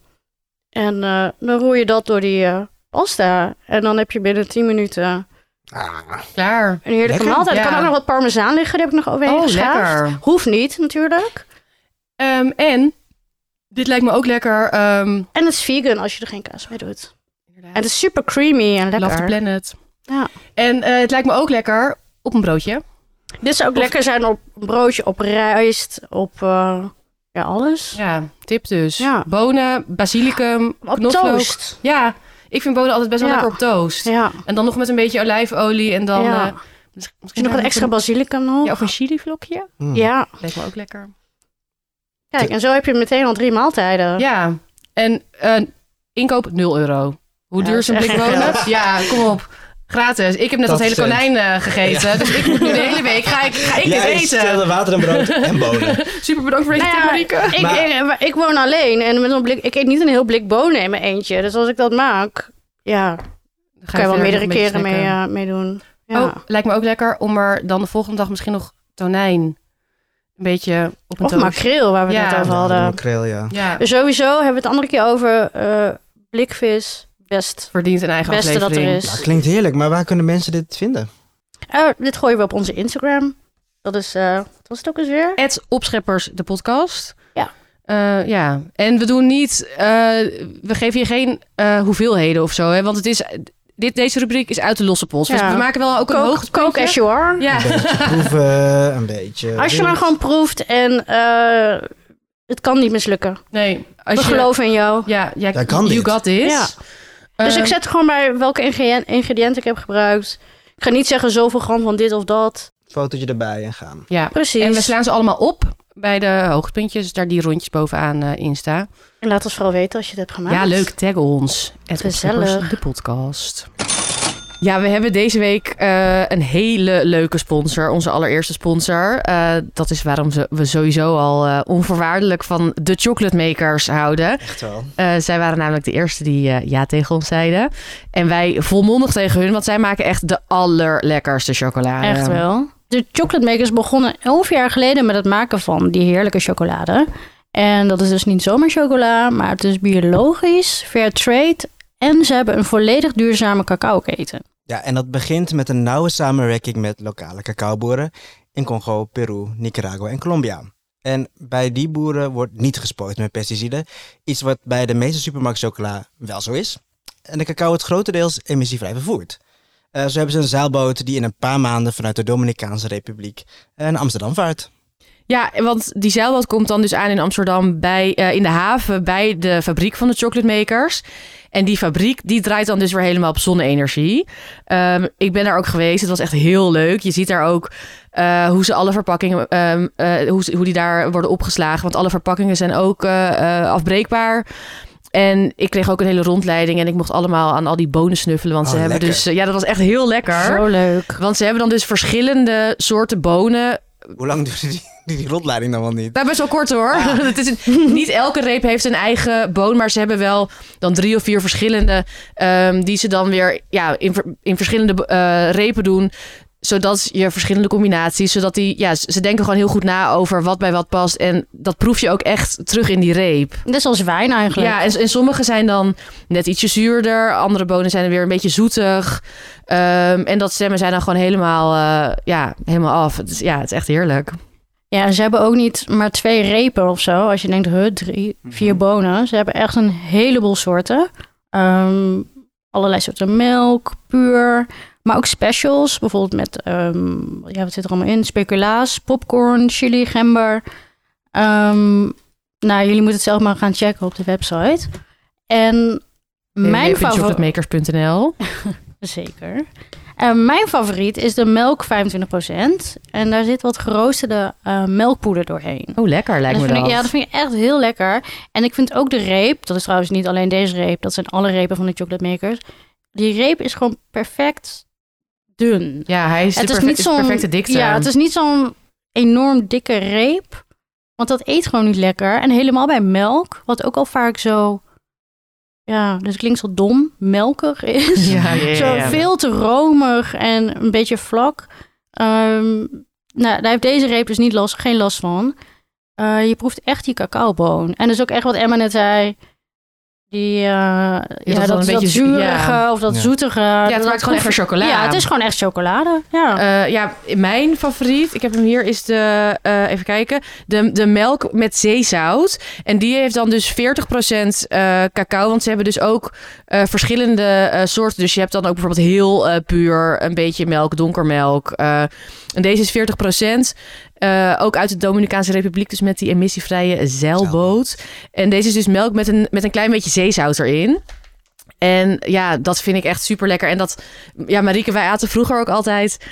S3: En eh, dan roer je dat door die eh, pasta. En dan heb je binnen 10 minuten
S1: Ah,
S2: Klaar.
S3: een heerlijke
S1: Lekker,
S3: maaltijd. Er
S2: ja.
S3: kan ook nog wat parmezaan liggen. Die heb ik nog overheen
S2: Oh,
S3: geschaafd.
S2: lekker.
S3: Hoeft niet natuurlijk.
S2: Ehm, en, dit lijkt me ook lekker. ehm
S3: En het is vegan als je er geen kaas bij doet. En
S2: en
S3: het is super creamy en
S2: Love the
S3: lekker.
S2: Planet.
S3: Ja.
S2: En eh, het lijkt me ook lekker op een broodje.
S3: Dit zou ook
S2: Of-
S3: lekker zijn op een broodje, op rijst, op eh, ja, alles.
S2: Ja, tip dus.
S3: Ja.
S2: Bonen, basilicum,
S3: Op
S2: knoflook.
S3: toast.
S2: Ja, ik vind bonen altijd best wel
S3: Ja.
S2: lekker op toast.
S3: Ja.
S2: En dan nog met een beetje olijfolie en dan...
S3: Ja.
S2: eh, mis-
S3: Is er
S2: misschien
S3: nog een extra basilicum nog?
S2: Ja, of een chilivlokje.
S1: mm.
S3: Ja.
S2: Lijkt me ook lekker.
S3: Kijk, en zo heb je meteen al drie maaltijden.
S2: Ja, en eh, inkoop 0 euro. Hoe
S3: Ja,
S2: duur
S3: dat
S2: is
S3: is
S2: een
S3: echt
S2: blik
S3: geen
S2: bonen? Ja, kom op. Gratis. Ik heb net dat,
S1: Dat
S2: hele
S1: stemt.
S2: konijn eh, gegeten. Dus ik moet nu de hele week ga ik, ga ik dit
S1: Jij
S2: eten.
S1: stelde water en brood en bonen.
S2: Super bedankt voor deze
S3: Nou
S2: tip,
S3: ja,
S2: Marieke.
S3: Ik,
S1: Maar-
S3: ik, maar ik woon alleen en met een blik, ik eet niet een heel blik bonen in mijn eentje. Dus als ik dat maak, ja, kan je wel meerdere keren mee, eh, mee doen. Ja.
S2: Oh, lijkt me ook lekker om er dan de volgende dag misschien nog tonijn een beetje op een
S3: of
S2: toast.
S3: makreel, waar we
S2: Ja.
S3: het net over
S1: Ja,
S3: hadden.
S1: makreel, Nou, ja.
S2: Ja,
S3: Dus sowieso hebben we het andere keer over eh, blikvis. Best.
S2: verdient een eigen
S3: Beste dat er
S2: aflevering.
S3: is.
S1: Nou, klinkt heerlijk, maar waar kunnen mensen dit vinden?
S3: Eh, dit gooien we op onze Instagram. Dat is, eh, wat was het ook eens weer?
S2: Het Opscheppers, de podcast.
S3: Ja.
S2: Eh, ja, en we doen niet, eh, we geven hier geen eh, hoeveelheden of zo, hè? want het is, dit, deze rubriek is uit de losse pols. Dus
S3: Ja.
S2: we maken wel ook een
S3: Kook, kook as
S2: hoogtepuntje.
S3: you are.
S2: Ja,
S1: Een beetje proeven, een beetje...
S3: Als je maar gewoon proeft en eh, het kan niet mislukken.
S2: nee. Als
S3: we
S2: je,
S3: geloven in jou.
S2: Ja, ja
S1: Jij kan
S2: you
S1: dit.
S2: got this.
S3: Ja. Dus
S2: Eh,
S3: ik zet gewoon bij welke ingrediënt, ingrediënten ik heb gebruikt. Ik ga niet zeggen zoveel gram van dit of dat.
S1: Fotootje erbij en gaan.
S2: ja.
S3: Precies.
S2: En we slaan ze allemaal op bij de hoogtepuntjes, Dus daar die rondjes bovenaan eh Insta.
S3: En laat ons vooral weten als je het hebt gemaakt.
S2: Ja, leuk. Tag ons. Het
S3: Gezellig.
S2: Opscheppers, de podcast. Ja, we hebben deze week eh, een hele leuke sponsor. Onze allereerste sponsor. Eh, dat is waarom ze, we sowieso al eh, onvoorwaardelijk van de chocolate makers houden.
S1: Echt wel.
S2: Eh, zij waren namelijk de eerste die eh, ja tegen ons zeiden. En wij volmondig tegen hun, want zij maken echt de allerlekkerste chocolade.
S3: Echt wel. Ehm, De chocolate makers begonnen elf jaar geleden met het maken van die heerlijke chocolade. En dat is dus niet zomaar chocola, maar het is biologisch, fair trade. En ze hebben een volledig duurzame cacaoketen.
S1: Ja, en dat begint met een nauwe samenwerking met lokale cacaoboeren in Congo, Peru, Nicaragua en Colombia. En bij die boeren wordt niet gespoten met pesticiden, iets wat bij de meeste supermarktchocola wel zo is. En de cacao wordt grotendeels emissievrij vervoerd. Eh, zo hebben ze een zeilboot die in een paar maanden vanuit de Dominicaanse Republiek eh, naar Amsterdam vaart.
S2: Ja, want die zeilboot komt dan dus aan in Amsterdam bij, eh, in de haven bij de fabriek van de chocolademakers. En die fabriek die draait dan dus weer helemaal op zonne-energie. Ehm, ik ben daar ook geweest. Het was echt heel leuk. Je ziet daar ook eh, hoe ze alle verpakkingen, ehm, eh, hoe, ze- hoe die daar worden opgeslagen. Want alle verpakkingen zijn ook eh, eh, afbreekbaar. En ik kreeg ook een hele rondleiding en ik mocht allemaal aan al die bonen snuffelen. Want ze
S1: Oh,
S2: hebben
S1: lekker.
S2: dus, eh, ja, dat was echt heel lekker.
S3: Zo leuk.
S2: Want ze hebben dan dus verschillende soorten bonen
S1: Hoe lang duurde die, die, die rondleiding dan wel niet?
S2: nou, best wel kort hoor. Het is een- niet elke reep heeft een eigen boon, maar ze hebben wel dan drie of vier verschillende ehm, die ze dan weer ja, in, ver- in verschillende eh, repen doen zodat je verschillende combinaties, zodat die, ja, ze ze denken gewoon heel goed na over wat bij wat past. En dat proef je ook echt terug in die reep.
S3: Net zoals wijn eigenlijk.
S2: Ja, en, en sommige zijn dan net ietsje zuurder. Andere bonen zijn weer een beetje zoetig. Ehm, en dat stemmen zijn dan gewoon helemaal, eh, ja, helemaal af. Het is, ja, het is echt heerlijk.
S3: Ja, ze hebben ook niet maar twee repen of zo. Als je denkt, huh, drie, vier bonen. Ze hebben echt een heleboel soorten. Ehm, allerlei soorten melk, puur. Maar ook specials, bijvoorbeeld met, ehm, ja, wat zit er allemaal in? Speculaas, popcorn, chili, gember. Ehm, nou, jullie moeten het zelf maar gaan checken op de website. En mijn favoriet...
S2: www.chocolatemakers.nl
S3: Zeker. En mijn favoriet is de melk 25%. En daar zit wat geroosterde eh, melkpoeder doorheen.
S2: Oh, lekker lijkt
S3: dat
S2: me
S3: vind
S2: dat.
S3: Ik, ja, dat vind ik echt heel lekker. En ik vind ook de reep, dat is trouwens niet alleen deze reep, dat zijn alle repen van de chocolate makers. Die reep is gewoon perfect dun.
S2: Ja, hij is
S3: het
S2: de
S3: is
S2: perfe-
S3: niet
S2: is de
S3: zo'n
S2: perfecte dikte.
S3: Ja, het is niet zo'n enorm dikke reep. Want dat eet gewoon niet lekker. En helemaal bij melk, wat ook al vaak zo ja, dus het klinkt zo dom, melkig is.
S2: Ja, ja,
S3: zo veel te romig en een beetje vlak. Ehm, nou, daar heeft deze reep dus niet last, geen last van. Eh, je proeft echt die cacaoboon. En dat is ook echt wat Emma net zei. Die, eh, ja,
S2: dat
S3: dat,
S2: wel een
S3: dat,
S2: beetje zu-
S3: zurige
S2: ja.
S3: of dat
S1: Ja.
S3: zoetige.
S2: Ja, het maakt gewoon echt chocola.
S3: Ja, het is gewoon echt chocolade. Ja.
S2: Eh, ja, mijn favoriet, ik heb hem hier, is de, eh, even kijken, de, de melk met zeezout. En die heeft dan dus 40% eh, cacao, want ze hebben dus ook eh, verschillende eh, soorten. Dus je hebt dan ook bijvoorbeeld heel eh, puur, een beetje melk, donkermelk. eh en deze is 40%, eh, ook uit de Dominicaanse Republiek, dus met die emissievrije zeilboot. En deze is dus melk met een, met een klein beetje zeezout erin. En ja, dat vind ik echt super lekker. En dat, ja, Marieke, wij aten vroeger ook altijd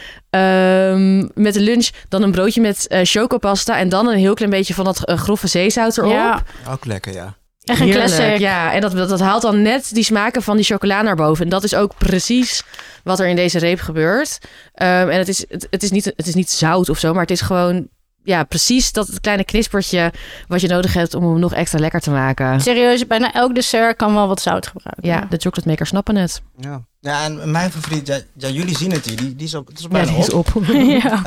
S2: ehm, met de lunch dan een broodje met eh, chocopasta en dan een heel klein beetje van dat eh, grove zeezout erop.
S3: ja.
S1: Ook lekker, ja.
S3: Echt een
S2: Heerlijk,
S3: classic.
S2: Ja, en dat, dat, dat haalt dan net die smaken van die chocola naar boven. En dat is ook precies wat er in deze reep gebeurt. Ehm, en het is, het, het is niet, het is niet zout of zo, maar het is gewoon ja, precies dat kleine knispertje wat je nodig hebt om hem nog extra lekker te maken.
S3: Serieus, bijna elk dessert kan wel wat zout gebruiken.
S2: Ja, de chocolate makers snappen het.
S1: Ja, ja en mijn favoriet, ja, ja, jullie zien het hier, die, die is, op, het is
S2: Ja,
S1: bijna
S2: die
S1: op.
S2: is op.
S3: ja.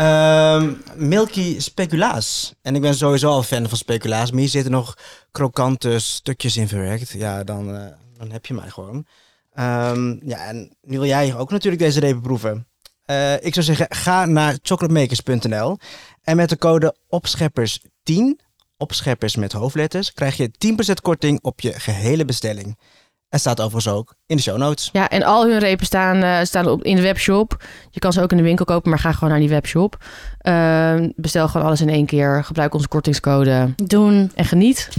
S1: Ehm, Milky speculaas. En ik ben sowieso al fan van speculaas. Maar hier zitten nog krokante stukjes in verwerkt. Ja, dan, eh, dan heb je mij gewoon. Ehm, ja, en nu wil jij ook natuurlijk deze repen proeven. Eh, ik zou zeggen, ga naar chocolatemakers.nl. En met de code opscheppers10, opscheppers met hoofdletters, krijg je 10% korting op je gehele bestelling. En staat overigens ook in de show notes.
S2: Ja, en al hun repen staan, eh, staan op, in de webshop. Je kan ze ook in de winkel kopen, maar ga gewoon naar die webshop. Ehm, bestel gewoon alles in één keer. Gebruik onze kortingscode
S3: Doen.
S2: en geniet.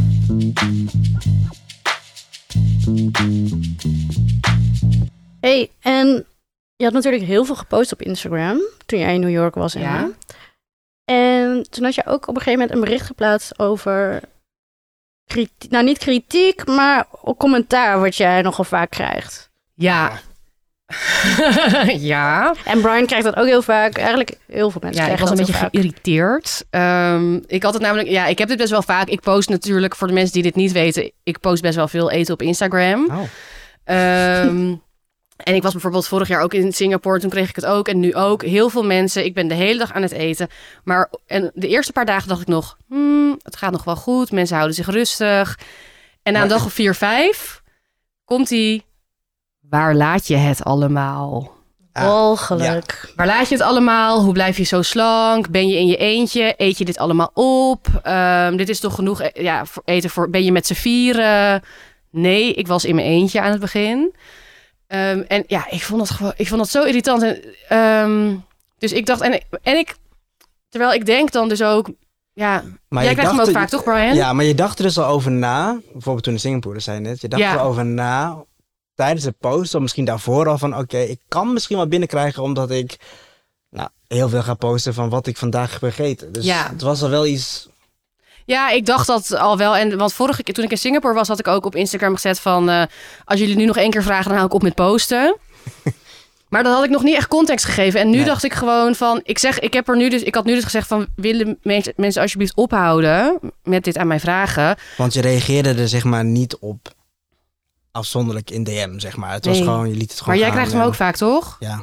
S3: hey, en je had natuurlijk heel veel gepost op Instagram toen jij in New York was. Emma.
S2: Ja.
S3: En toen had je ook op een gegeven moment een bericht geplaatst over. kriti- nou, niet kritiek, maar ook commentaar wat jij nogal vaak krijgt.
S2: Ja. ja.
S3: En Brian krijgt dat ook heel vaak. Eigenlijk heel veel mensen
S2: Ja, ik
S3: krijgen
S2: was een beetje
S3: dat heel vaak.
S2: geïrriteerd. Ehm, ik had het namelijk, ja, ik heb dit best wel vaak. Ik post natuurlijk, voor de mensen die dit niet weten, ik post best wel veel eten op Instagram. Ehm, en ik was bijvoorbeeld vorig jaar ook in Singapore. Toen kreeg ik het ook. En nu ook. Heel veel mensen. Ik ben de hele dag aan het eten. Maar en de eerste paar dagen dacht ik nog... "Hmm, het gaat nog wel goed. Mensen houden zich rustig. En aan
S1: Maar-
S2: dag 4, 5 komt die... Waar laat je het allemaal?
S1: Ah,
S3: Walgelijk.
S2: Waar laat je het allemaal? Hoe blijf je zo slank? Ben je in je eentje? Eet je dit allemaal op? Ehm, dit is toch genoeg eh, ja, voor eten voor. Ben je met z'n vieren? Nee, ik was in mijn eentje aan het begin. Ehm, en ja, ik vond dat gewoon. Ik vond dat zo irritant. En, ehm, dus ik dacht. En, en ik. Terwijl ik denk dan dus ook. Ja,
S1: Maar
S2: jij
S1: je
S2: krijgt hem
S1: dacht-
S2: ook vaak, toch, Brian?
S1: Ja, maar je dacht er dus al over na. Bijvoorbeeld toen in Singapore, dat zei je net. Je dacht
S2: Ja.
S1: erover na tijdens het posten. Of misschien daarvoor al van, oké, ik kan misschien wel binnenkrijgen. Omdat ik nou, heel veel ga posten van wat ik vandaag heb gegeten. Dus
S2: Ja.
S1: het was al wel iets...
S2: Ja, ik dacht dat al wel. En want vorige keer toen ik in Singapore was, had ik ook op Instagram gezet van eh, als jullie nu nog één keer vragen, dan hou ik op met posten. maar dat had ik nog niet echt context gegeven. En nu
S1: Nee.
S2: dacht ik gewoon van, ik zeg, ik heb er nu dus, ik had nu dus gezegd van, willen mensen, mensen alsjeblieft ophouden met dit aan mij vragen?
S1: Want je reageerde er zeg maar niet op afzonderlijk in DM, zeg maar. Het was
S2: Nee.
S1: gewoon, je liet het gewoon
S2: maar jij
S1: gaan,
S2: krijgt hem
S1: ja.
S2: ook vaak, toch?
S1: Ja.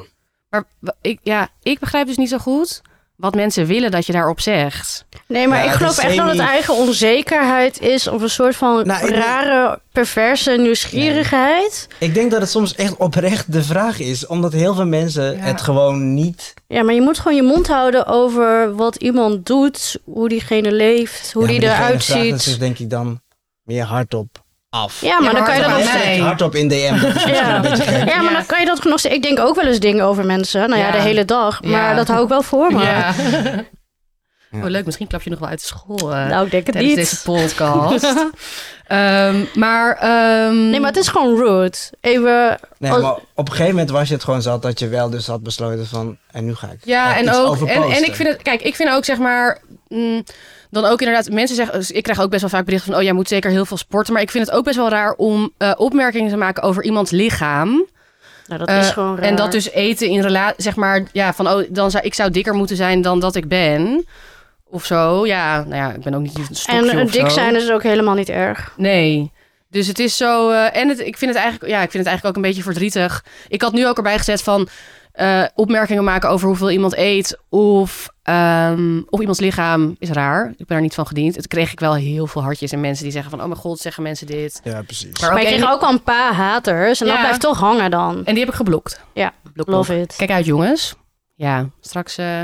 S2: Maar w- ik, ja, ik begrijp dus niet zo goed wat mensen willen dat je daarop zegt.
S3: Nee, maar
S1: Ja,
S3: ik
S1: het
S3: geloof
S1: is
S3: echt dat het
S1: semi-
S3: eigen onzekerheid is. Of een soort van
S1: Nou, ik-
S3: rare, perverse nieuwsgierigheid.
S1: Ik denk dat het soms echt oprecht de vraag is. Omdat heel veel mensen
S2: Ja.
S1: het gewoon niet...
S3: Ja, maar je moet gewoon je mond houden over wat iemand doet, hoe diegene leeft, hoe
S1: Ja,
S3: die
S1: maar diegene
S3: eruit
S1: vraagt het zich
S3: ziet.
S1: denk ik dan meer hardop af.
S3: Ja, maar
S2: Ja,
S3: dan
S2: maar
S3: kan je
S2: hard
S3: dat
S2: aan
S3: ook
S2: mij. Nee.
S1: Hardop in DM. dat is misschien
S3: Ja.
S1: een beetje gek.
S3: Ja, maar
S2: Ja.
S3: dan kan je dat nog steeds. Ik denk ook wel eens dingen over mensen. Nou ja,
S2: Ja.
S3: de hele dag. Maar
S2: Ja.
S3: dat hou ik wel voor me.
S1: Ja.
S2: Oh, leuk. Misschien klap je nog wel uit de school. eh,
S3: Nou, ik denk het
S2: tijdens
S3: niet.
S2: deze podcast. Ehm, maar, ehm,
S3: Nee, maar het is gewoon rude. Even.
S1: Nee,
S3: Als-
S1: maar op een gegeven moment was je het gewoon zat dat je wel dus had besloten van... En nu ga ik
S2: ja,
S1: er
S2: en
S1: iets
S2: ook
S1: over
S2: en, en
S1: posten.
S2: ik vind het kijk, ik vind ook zeg maar mm, dan ook inderdaad mensen zeggen dus ik krijg ook best wel vaak berichten van oh jij moet zeker heel veel sporten, maar ik vind het ook best wel raar om eh, opmerkingen te maken over iemands lichaam.
S3: Nou, dat
S2: Eh,
S3: is gewoon raar.
S2: En dat dus eten in relatie, zeg maar, ja, van oh, dan zou ik zou dikker moeten zijn dan dat ik ben. Of zo, ja, nou ja, ik ben ook niet een stokje
S3: En eh,
S2: of
S3: dik
S2: zo.
S3: zijn is ook helemaal niet erg.
S2: Nee. Dus het is zo. eh, en het, ik, vind het eigenlijk, ja, ik vind het eigenlijk ook een beetje verdrietig. Ik had nu ook erbij gezet van eh, opmerkingen maken over hoeveel iemand eet. Of, ehm, of iemands lichaam is raar. Ik ben daar niet van gediend. Het kreeg ik wel heel veel hartjes en mensen die zeggen van oh mijn god, zeggen mensen dit.
S1: Ja, precies.
S2: Maar
S3: Maar ik
S2: ook
S3: kreeg
S2: één-
S3: ook al een paar haters. En
S2: Ja.
S3: dat blijft toch hangen dan.
S2: En die heb ik geblokt.
S3: Ja,
S2: Blok, blok.
S3: Love it.
S2: Kijk uit jongens. Ja, straks eh,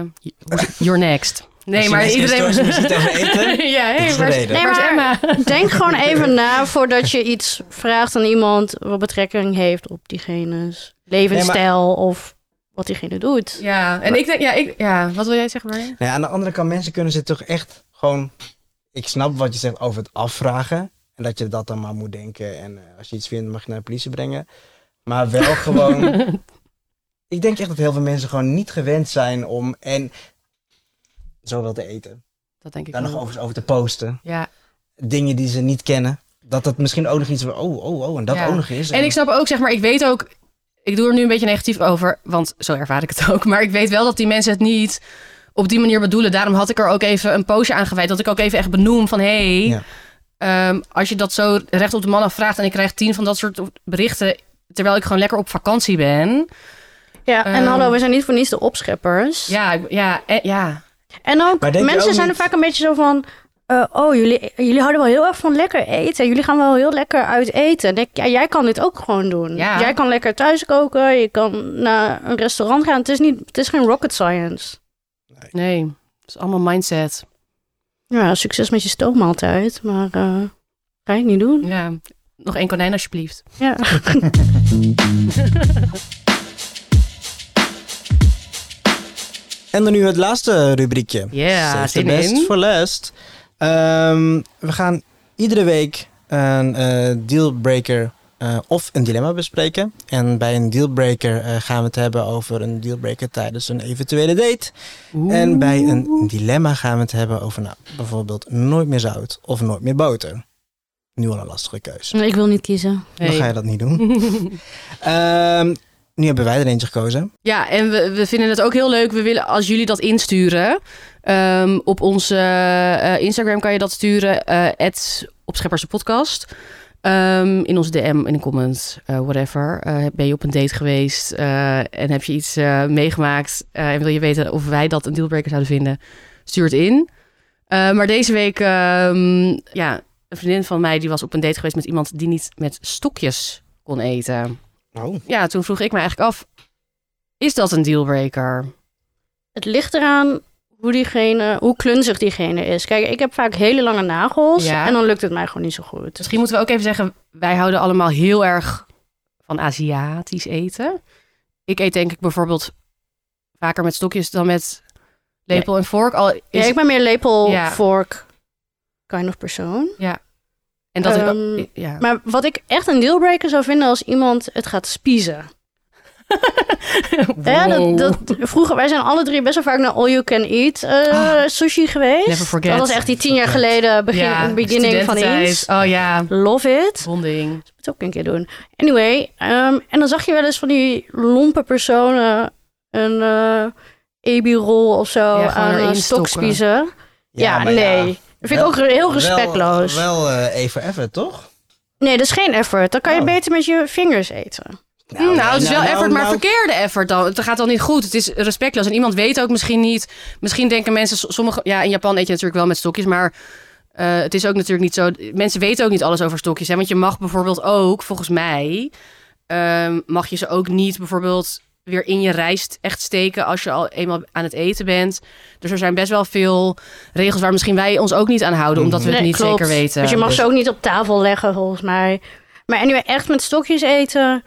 S2: you're next. Nee,
S1: Als
S2: maar
S1: je
S2: iedereen...
S1: mensen niet tegen eten,
S2: ja,
S1: dit
S2: hey,
S1: is de
S2: waar is-
S1: reden.
S2: waar is
S3: Nee, maar-
S2: Emma?
S3: Denk gewoon even na voordat je iets vraagt aan iemand wat betrekking heeft op diegene's levensstijl of wat diegene doet.
S2: Ja, en ik denk, ja, ik, ja, wat wil jij zeggen, Marja?
S1: Nou ja, aan de andere kant, mensen kunnen zich toch echt gewoon... Ik snap wat je zegt over het afvragen. En dat je dat dan maar moet denken. En eh, als je iets vindt, mag je naar de politie brengen. Maar wel gewoon... ik denk echt dat heel veel mensen gewoon niet gewend zijn om... En zoveel te eten.
S2: Dat denk ik
S1: Daar nog
S2: wel.
S1: overigens over te posten.
S2: Ja,
S1: Dingen die ze niet kennen. Dat dat misschien ook nog iets... van, Oh, oh, oh. En dat
S2: Ja.
S1: ook nog is.
S2: en ik snap ook, zeg maar, ik weet ook, ik doe er nu een beetje negatief over, want zo ervaar ik het ook. Maar ik weet wel dat die mensen het niet op die manier bedoelen. Daarom had ik er ook even een poosje aan gewijd, dat ik ook even echt benoem van, hey,
S1: Ja.
S2: ehm, als je dat zo recht op de man afvraagt en ik krijg tien van dat soort berichten, terwijl ik gewoon lekker op vakantie ben.
S3: Ja, en
S2: Ehm.
S3: hallo, we zijn niet voor niets de opscheppers.
S2: Ja, ik- ja, eh, ja.
S3: En ook,
S1: Maar denk je
S3: mensen
S1: ook
S3: zijn
S1: niet-
S3: er vaak een beetje zo van... eh, oh, jullie, jullie houden wel heel erg van lekker eten. Jullie gaan wel heel lekker uit eten. Dan Denk, ik, ja, jij kan dit ook gewoon doen.
S2: Ja.
S3: Jij kan lekker thuis koken. Je kan naar een restaurant gaan. Het is, niet, het is geen rocket science.
S2: Nee, het is allemaal mindset.
S3: Ja, succes met je stoommaaltijd. Maar eh ga ik niet doen.
S2: Ja, nog één konijn alsjeblieft.
S3: Ja.
S1: En dan nu het laatste rubriekje.
S2: Ja,
S1: Save the
S2: zin
S1: best
S2: in.
S1: voor last. Ehm, we gaan iedere week een eh, dealbreaker eh, of een dilemma bespreken. En bij een dealbreaker eh, gaan we het hebben over een dealbreaker tijdens een eventuele date. En bij een dilemma gaan we het hebben over nou, bijvoorbeeld nooit meer zout of nooit meer boter. Nu al een lastige keuze.
S3: Ik wil niet kiezen.
S1: Dan ga je dat niet doen. Ehm, nu hebben wij er eentje gekozen.
S2: Ja, en we, we vinden het ook heel leuk. We willen als jullie dat insturen. ehm, op onze eh, Instagram kan je dat sturen. eh op Scheppersenpodcast. Ehm, in onze DM, in de comments, eh, whatever. Eh, ben je op een date geweest eh, en heb je iets eh, meegemaakt? eh, en wil je weten of wij dat een dealbreaker zouden vinden? Stuur het in. Eh, maar deze week, ehm, ja, een vriendin van mij die was op een date geweest met iemand die niet met stokjes kon eten
S1: Oh.
S2: ja, toen vroeg ik me eigenlijk af: is dat een dealbreaker? Dus
S3: Het ligt eraan hoe diegene, hoe klunzig diegene is. Kijk, ik heb vaak hele lange nagels.
S2: Ja.
S3: En dan lukt het mij gewoon niet zo goed.
S2: Misschien moeten we ook even zeggen: wij houden allemaal heel erg van Aziatisch eten. Ik eet denk ik bijvoorbeeld vaker met stokjes dan met lepel en vork. Al is-
S3: Ja, ik ben meer lepel,
S2: Ja.
S3: vork, kind of persoon.
S2: en dat ik-
S3: Ehm,
S2: ja.
S3: Maar wat ik echt een dealbreaker zou vinden als iemand het gaat spiezen. Hè, dat, dat, vroeger, wij zijn alle drie best wel vaak naar All You Can Eat eh,
S2: Ah.
S3: sushi geweest.
S2: Never forget.
S3: Dat was echt die tien jaar
S1: Forget.
S3: geleden begin,
S2: Ja,
S3: beginning van
S2: studententijd.
S3: iets.
S2: Oh ja,
S3: Love it.
S2: bonding.
S3: Dat moet ik ook een keer doen. Anyway, ehm, en dan zag je wel eens van die lompe personen een eh EB-rol of zo
S2: Ja, gewoon
S3: aan een
S2: erin
S3: stok
S2: stokken.
S3: spiezen. Ja,
S1: maar
S3: nee. Dat vind
S1: Wel-
S3: ik ook heel respectloos.
S1: Wel, wel eh, even even, toch?
S3: Nee, dat is geen effort. Dan kan je
S1: Oh.
S3: beter met je vingers eten.
S2: Nou,
S1: nee,
S2: het is wel
S1: nou,
S2: effort, maar
S1: nou.
S2: verkeerde effort dan. Het gaat dan niet goed. Het is respectloos. En iemand weet ook misschien niet. Misschien denken mensen, s- sommige. Ja, in Japan eet je natuurlijk wel met stokjes, maar. eh, het is ook natuurlijk niet zo. Mensen weten ook niet alles over stokjes. Hè? Want je mag bijvoorbeeld ook, volgens mij, ehm, mag je ze ook niet bijvoorbeeld weer in je rijst echt steken als je al eenmaal aan het eten bent. Dus er zijn best wel veel regels waar misschien wij ons ook niet aan houden, omdat we het
S3: Nee,
S2: niet
S3: klopt.
S2: zeker weten.
S3: Dus je mag
S1: Dus-
S3: ze ook niet op tafel leggen, volgens mij. Maar anyway, echt met stokjes eten.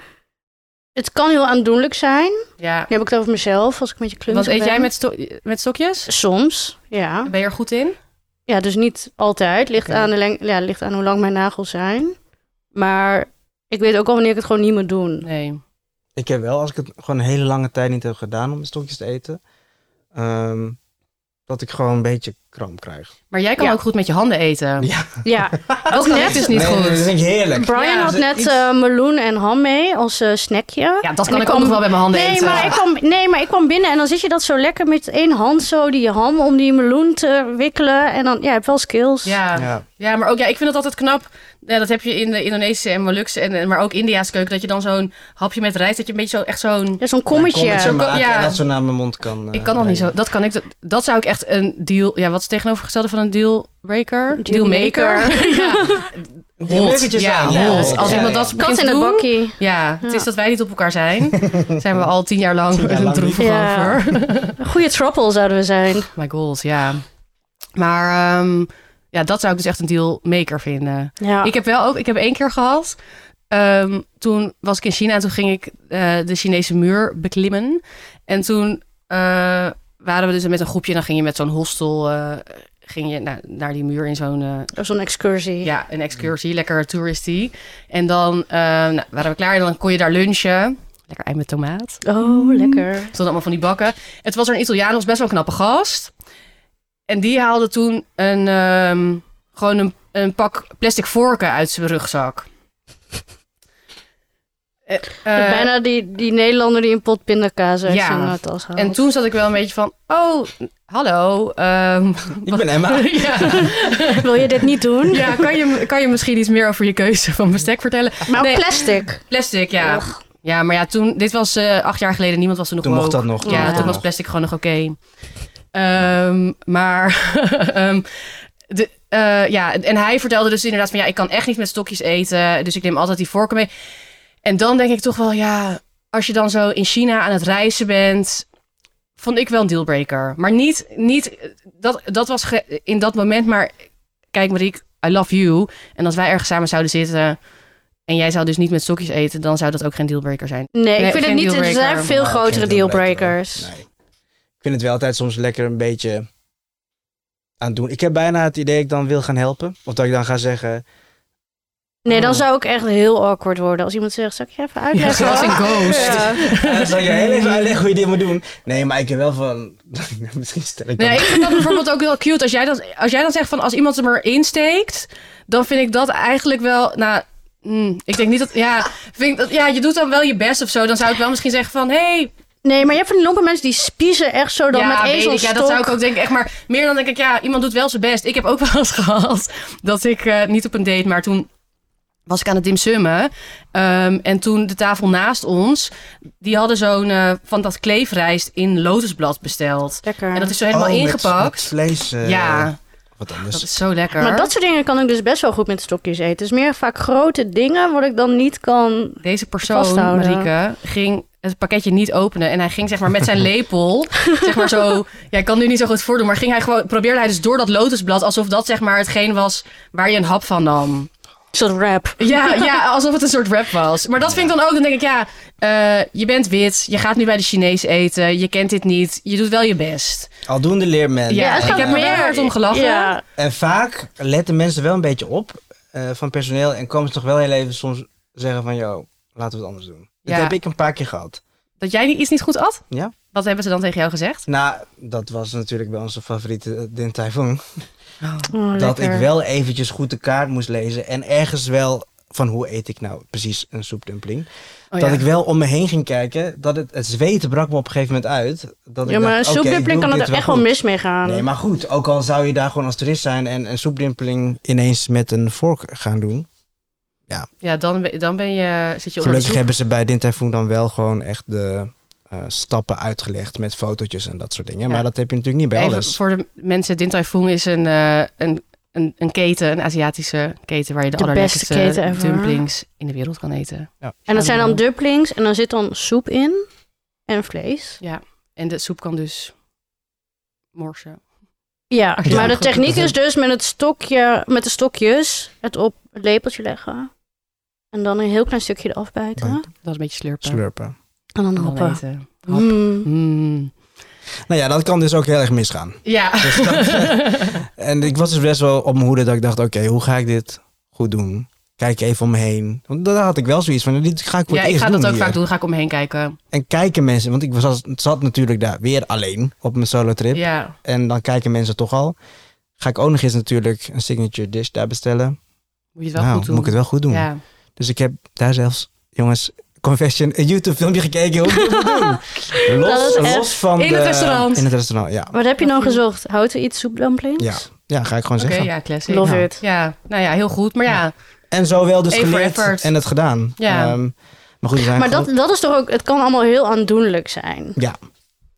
S3: Het kan heel aandoenlijk zijn.
S2: ja.
S3: Nu heb ik het over mezelf, als ik met je
S2: Wat
S3: klunzig
S2: eet
S3: ben.
S2: jij met, sto- met stokjes?
S3: Soms, ja.
S2: Ben je er goed in?
S3: Ja, dus niet altijd. Ligt,
S2: Oké.
S3: aan, de leng- ja, ligt aan hoe lang mijn nagels zijn. Maar ik weet ook al wanneer ik het gewoon niet moet doen.
S2: Nee.
S1: Ik heb wel, als ik het gewoon een hele lange tijd niet heb gedaan om stokjes te eten, ehm, dat ik gewoon een beetje kramp krijg.
S2: Maar jij kan
S3: Ja.
S2: ook goed met je handen eten.
S1: Ja.
S3: Ja,
S2: Ook
S3: net.
S2: net is niet
S1: Nee,
S2: goed.
S1: Dat vind ik heerlijk.
S3: Brian
S2: Ja, dus
S3: had
S1: ze-
S3: net
S1: iets-
S3: eh, meloen en ham mee als eh, snackje.
S2: Ja, dat
S3: En
S2: kan ik
S3: dan
S2: ook nog
S3: kwam-
S2: wel bij mijn handen
S3: Nee
S2: eten.
S3: maar, ik kwam, nee, maar ik kwam binnen en dan zit je dat zo lekker met één hand zo die ham om die meloen te wikkelen. En dan, ja, je hebt wel skills.
S2: Ja. Ja.
S1: Ja.
S2: maar ook ja, ik vind het altijd knap. Ja, dat heb je in de Indonesische en Molukse en en- maar ook India's keuken dat je dan zo'n hapje met rijst dat je een beetje zo echt zo'n
S3: Ja, zo'n kommetje.
S1: Een kommetje maken
S2: Ja.
S1: en dat zo naar mijn mond kan. eh,
S2: ik kan nog niet zo.
S1: brengen.
S2: Dat kan ik. Dat, dat zou ik echt een deal. Ja, wat is het tegenovergestelde van een dealbreaker?
S3: Dealmaker.
S2: ja.
S1: Die
S2: Hot.
S1: muggetjes
S2: Ja,
S1: aan.
S2: hot.
S1: Ja,
S2: Als
S1: ja,
S2: iemand
S1: ja.
S2: dat
S3: Kat
S2: begint
S3: in
S2: te
S3: het
S2: doen,
S3: bakkie.
S2: Ja, het is dat wij niet op elkaar zijn. zijn we al tien jaar
S1: Tien jaar
S2: lang
S1: lang
S2: droevig
S3: Ja.
S2: over.
S3: Een goede troppel zouden we zijn.
S2: My god, ja. Maar ehm, ja, dat zou ik dus echt een dealmaker vinden.
S3: Ja.
S2: Ik heb wel ook, ik heb één keer gehad. ehm, toen was ik in China en toen ging ik eh, de Chinese muur beklimmen. En toen eh, waren we dus met een groepje en dan ging je met zo'n hostel eh, ging je naar, naar die muur in zo'n eh,
S3: Zo'n excursie.
S2: ja, een excursie, lekker touristy. En dan eh, nou, waren we klaar en dan kon je daar lunchen. Lekker ei met tomaat.
S3: Oh, lekker.
S2: Toen allemaal van die bakken. En toen was er een Italiaan, dat was best wel een knappe gast. En die haalde toen een, ehm, gewoon een, een pak plastic vorken uit zijn rugzak. Eh, eh,
S3: Bijna die, die Nederlander die een pot pindakaas uit
S2: Ja.
S3: zijn eh, tas haalt.
S2: en toen zat ik wel een beetje van, oh, hallo. ehm,
S1: Ik ben Emma.
S2: ja,
S3: Wil je dit niet doen?
S2: ja kan, je, kan je misschien iets meer over je keuze van bestek vertellen?
S3: Maar ook
S2: Nee.
S3: plastic.
S2: Plastic, ja. Ja, maar ja, toen, dit was eh, acht jaar geleden, niemand was er nog
S1: Toen mocht dat
S2: woke.
S1: nog.
S2: Ja,
S3: Ja.
S2: toen was plastic gewoon nog oké. Ehm, maar, ehm, de, eh, ja, en hij vertelde dus inderdaad van ja, ik kan echt niet met stokjes eten, dus ik neem altijd die vorken mee. En dan denk ik toch wel, ja, als je dan zo in China aan het reizen bent, vond ik wel een dealbreaker. Maar niet, niet dat, dat was ge- in dat moment, maar kijk Mariek, I love you. En als wij ergens samen zouden zitten en jij zou dus niet met stokjes eten, dan zou dat ook geen dealbreaker zijn.
S3: Nee, ik
S2: Nee,
S3: vind het
S2: geen
S3: niet. Er
S2: dealbreaker.
S3: zijn veel
S1: Nee,
S3: grotere
S1: geen dealbreaker.
S3: dealbreakers.
S1: Nee. Ik vind het wel altijd soms lekker een beetje aan doen. Ik heb bijna het idee dat ik dan wil gaan helpen. Of dat ik dan ga zeggen...
S3: Nee, dan
S1: Oh.
S3: zou ik echt heel awkward worden als iemand zegt: Zal ik je even
S2: Ja,
S3: uitleggen?
S2: zoals in Ghost.
S3: Ja.
S1: eh, zal je heel even uitleggen hoe je dit moet doen? Nee, maar ik heb wel van... Misschien stel ik
S2: Nee,
S1: dan...
S2: ik vind dat bijvoorbeeld ook heel cute. Als jij, dan, als jij dan zegt van als iemand hem erin steekt, dan vind ik dat eigenlijk wel. Nou, mm, ik denk niet dat. Ja, vind ik dat, ja, je doet dan wel je best of zo. Dan zou ik wel misschien zeggen van hé. Hey,
S3: Nee, maar je hebt van die lompe mensen die spiezen echt zo dan
S2: ja,
S3: met
S2: weet
S3: één
S2: ik. ja, dat zou ik ook denken. Echt maar meer dan denk ik, ja, iemand doet wel zijn best. Ik heb ook wel eens gehad dat ik eh, niet op een date, maar toen was ik aan het dimsummen. Ehm, en toen de tafel naast ons, die hadden zo'n eh, van dat kleefrijst in lotusblad besteld.
S3: Lekker.
S2: En dat is zo helemaal
S1: Oh, met-
S2: ingepakt.
S1: met vlees. eh,
S2: ja,
S1: Wat
S2: dat
S1: anders.
S2: is zo lekker.
S3: Maar dat soort dingen kan ik dus best wel goed met stokjes eten. Het is meer vaak grote dingen wat ik dan niet kan.
S2: Deze persoon,
S3: Vasthouden.
S2: Marieke, ging het pakketje niet openen. En hij ging zeg maar met zijn lepel, zeg maar zo... Ja, ik kan nu niet zo goed voordoen, maar ging hij gewoon, probeerde hij dus door dat lotusblad... alsof dat zeg maar hetgeen was waar je een hap van nam.
S3: Zo'n rap.
S2: Ja, ja alsof het een soort rap was. Maar dat vind ik dan ook, dan denk ik, ja, eh, je bent wit. Je gaat nu bij de Chinees eten. Je kent dit niet. Je doet wel je best.
S1: Aldoende leermen.
S2: Ja,
S3: het
S2: ik
S3: gaat
S2: heb er wel hard om gelachen.
S3: Ja,
S1: En vaak letten mensen wel een beetje op eh, van personeel en komen ze toch wel heel even soms zeggen van, yo, laten we het anders doen.
S2: Ja.
S1: Dat heb ik een paar keer gehad.
S2: Dat jij iets niet goed at?
S1: Ja.
S2: Wat hebben ze dan tegen jou gezegd?
S1: Nou, dat was natuurlijk bij onze favoriete eh, Din Tai Fung.
S3: Oh,
S1: Dat ik
S3: lekker.
S1: wel eventjes goed de kaart moest lezen en ergens wel van hoe eet ik nou precies een soepdumpling.
S2: Oh,
S1: dat
S2: ja.
S1: ik wel om me heen ging kijken, dat het, het zweten brak me op een gegeven moment uit. Dat
S3: Ja,
S1: ik
S3: maar een
S1: dacht, oké, ik
S3: soepdupling
S1: doe
S3: kan
S1: dit
S3: het er echt
S1: goed.
S3: wel mis mee gaan.
S1: Nee, maar goed, ook al zou je daar gewoon als toerist zijn en een soepdumpeling ineens met een vork gaan doen.
S2: Ja, dan, ben- dan ben je, zit je onder de
S1: Gelukkig
S2: soep.
S1: hebben ze bij Din Tai Fung dan wel gewoon echt de eh, stappen uitgelegd met fotootjes en dat soort dingen.
S2: Ja.
S1: Maar dat heb je natuurlijk niet bij
S2: Even
S1: alles.
S2: voor de mensen, Din Tai Fung is een, eh, een, een, een keten, een Aziatische keten... waar je de,
S3: De
S2: allerlekkerste
S3: beste keten ever.
S2: dumplings in de wereld kan eten.
S3: En dat zijn dan dumplings en dan zit dan soep in en vlees.
S2: En de soep kan dus morsen.
S3: Ja,
S2: Ja,
S3: maar de
S2: goed,
S3: techniek
S1: dat
S3: is dus met, het stokje, met de stokjes het op het lepeltje leggen. En dan een heel klein stukje eraf bijten.
S1: Bijten.
S2: Dat is een beetje slurpen.
S1: Slurpen.
S3: En dan
S2: En dan
S3: happen.
S2: eten. Hap.
S3: Mm.
S2: Mm.
S1: Nou ja, dat kan dus ook heel erg misgaan.
S2: Ja.
S1: Dus En ik was dus best wel op mijn hoede dat ik dacht, oké, hoe ga ik dit goed doen? Kijk even om me heen. Want daar had ik wel zoiets van, dit ga ik voor
S2: ja,
S1: het
S2: ik
S1: eerst
S2: ga dat ook
S1: hier.
S2: vaak doen. Dan ga ik omheen kijken.
S1: En kijken mensen, want ik was, zat natuurlijk daar weer alleen op mijn solo trip.
S2: Ja.
S1: En dan kijken mensen toch al. Ga ik ook nog eens natuurlijk een signature dish daar bestellen.
S2: Moet je het wel
S1: nou,
S2: goed doen.
S1: moet ik het wel goed doen.
S2: Ja.
S1: Dus ik heb daar zelfs, jongens, Confession, een YouTube filmpje gekeken hoe ik dit moet doen. Los,
S3: Dat is
S1: los van
S2: in het
S1: de-
S2: restaurant.
S1: In het restaurant, ja.
S3: Wat heb je
S2: Wat
S3: nou
S2: vind je?
S3: gezocht? Houten iets soepdumplings?
S1: Ja, ja ga ik gewoon
S2: Oké,
S1: zeggen.
S2: ja, classic.
S3: Love
S1: Nou.
S3: it.
S2: Ja, nou ja, heel goed. Maar ja,
S1: En zo wel dus
S2: Even
S1: geleerd
S2: effort.
S1: en het gedaan.
S2: Ja.
S1: Ehm, maar goed, we zijn
S3: Maar
S1: gewoon-
S3: dat, dat is toch ook, het kan allemaal heel aandoenlijk zijn.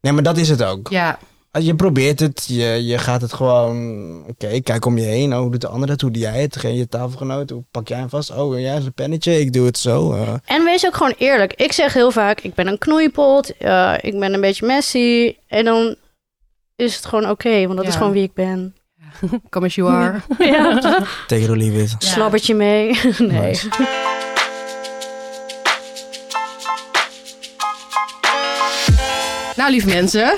S1: Nee, maar dat is het ook.
S2: ja.
S1: Je probeert het, je, je gaat het gewoon... Oké, kijk om je heen. Oh, hoe doet de ander het? Hoe doe jij het? Geen je tafelgenoot? Hoe pak jij hem vast? Oh, jij is een pennetje. Ik doe het zo. eh.
S3: En wees ook gewoon eerlijk. Ik zeg heel vaak, ik ben een knoeipot, eh, ik ben een beetje messy. En dan is het gewoon oké, want dat
S2: Ja.
S3: is gewoon wie ik ben.
S2: come as you are.
S3: Ja.
S1: Take it or leave it.
S2: Ja.
S3: Slabbertje mee. nee.
S1: Nice.
S2: Nou, lieve mensen,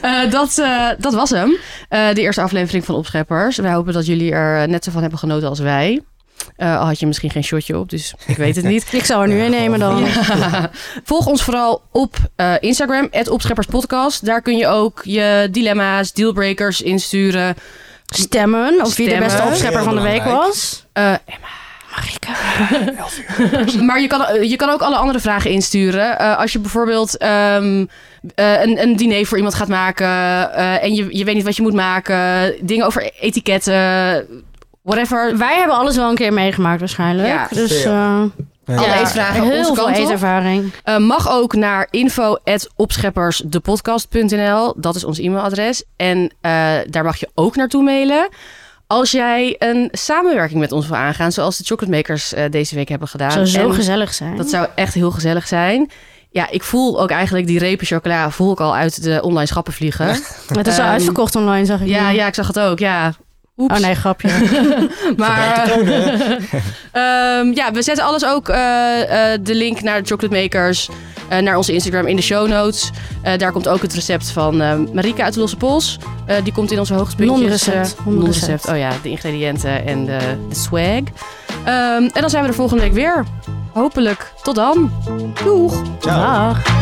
S2: Eh, dat, eh, dat was hem. Eh, de eerste aflevering van Opscheppers. Wij hopen dat jullie er eh, net zo van hebben genoten als wij. Eh, al had je misschien geen shotje op, dus ik weet het niet.
S3: Ik zou er nu
S1: Ja,
S3: een nemen dan.
S1: gewoon-
S2: Ja. Volg ons vooral op eh, Instagram, opschepperspodcast. Daar kun je ook je dilemma's, dealbreakers insturen.
S3: Stemmen, of wie de
S2: Stemmen.
S3: beste opschepper
S1: Heel
S3: van de week
S1: belangrijk.
S3: was.
S2: Eh, maar je kan, eh, je kan ook alle andere vragen insturen. Eh, als je bijvoorbeeld ehm, eh, een, een diner voor iemand gaat maken eh, en je, je weet niet wat je moet maken, dingen over etiketten, whatever.
S3: Wij hebben alles wel een keer meegemaakt waarschijnlijk.
S2: Ja.
S3: dus
S1: Veel.
S3: eh,
S2: Alle
S1: Ja.
S2: eetvragen onze
S3: heel
S2: kant
S3: veel
S2: op.
S3: eetervaring.
S2: Eh, mag ook naar info.opscheppersdepodcast.nl. Dat is ons e-mailadres. En eh, daar mag je ook naartoe mailen. Als jij een samenwerking met ons wil aangaan, zoals de Chocolate Makers eh, deze week hebben gedaan.
S3: zou zo
S2: En
S3: gezellig zijn.
S2: dat zou echt heel gezellig zijn. Ja, ik voel ook eigenlijk die repen chocola voel ik al uit de online schappen vliegen.
S3: het is al
S2: Ehm,
S3: uitverkocht online, zag ik.
S2: ja,
S3: nu.
S2: ja, ik zag het ook. Ja. Oeps.
S3: Oh nee, grapje.
S2: Maar Ehm, ja, we zetten alles ook eh, eh, de link naar de Chocolate Makers, eh, naar onze Instagram in de show notes. Eh, daar komt ook het recept van eh Marika uit de Losse Pols. Eh, die komt in onze hoogtepuntjes.
S3: Non-recept,
S2: eh,
S3: non-recept.
S2: non-recept. Oh ja, de ingrediënten en de, de swag. Ehm, en dan zijn we er volgende week weer. Hopelijk. Tot dan. Doeg.
S1: Ciao.
S3: Dag.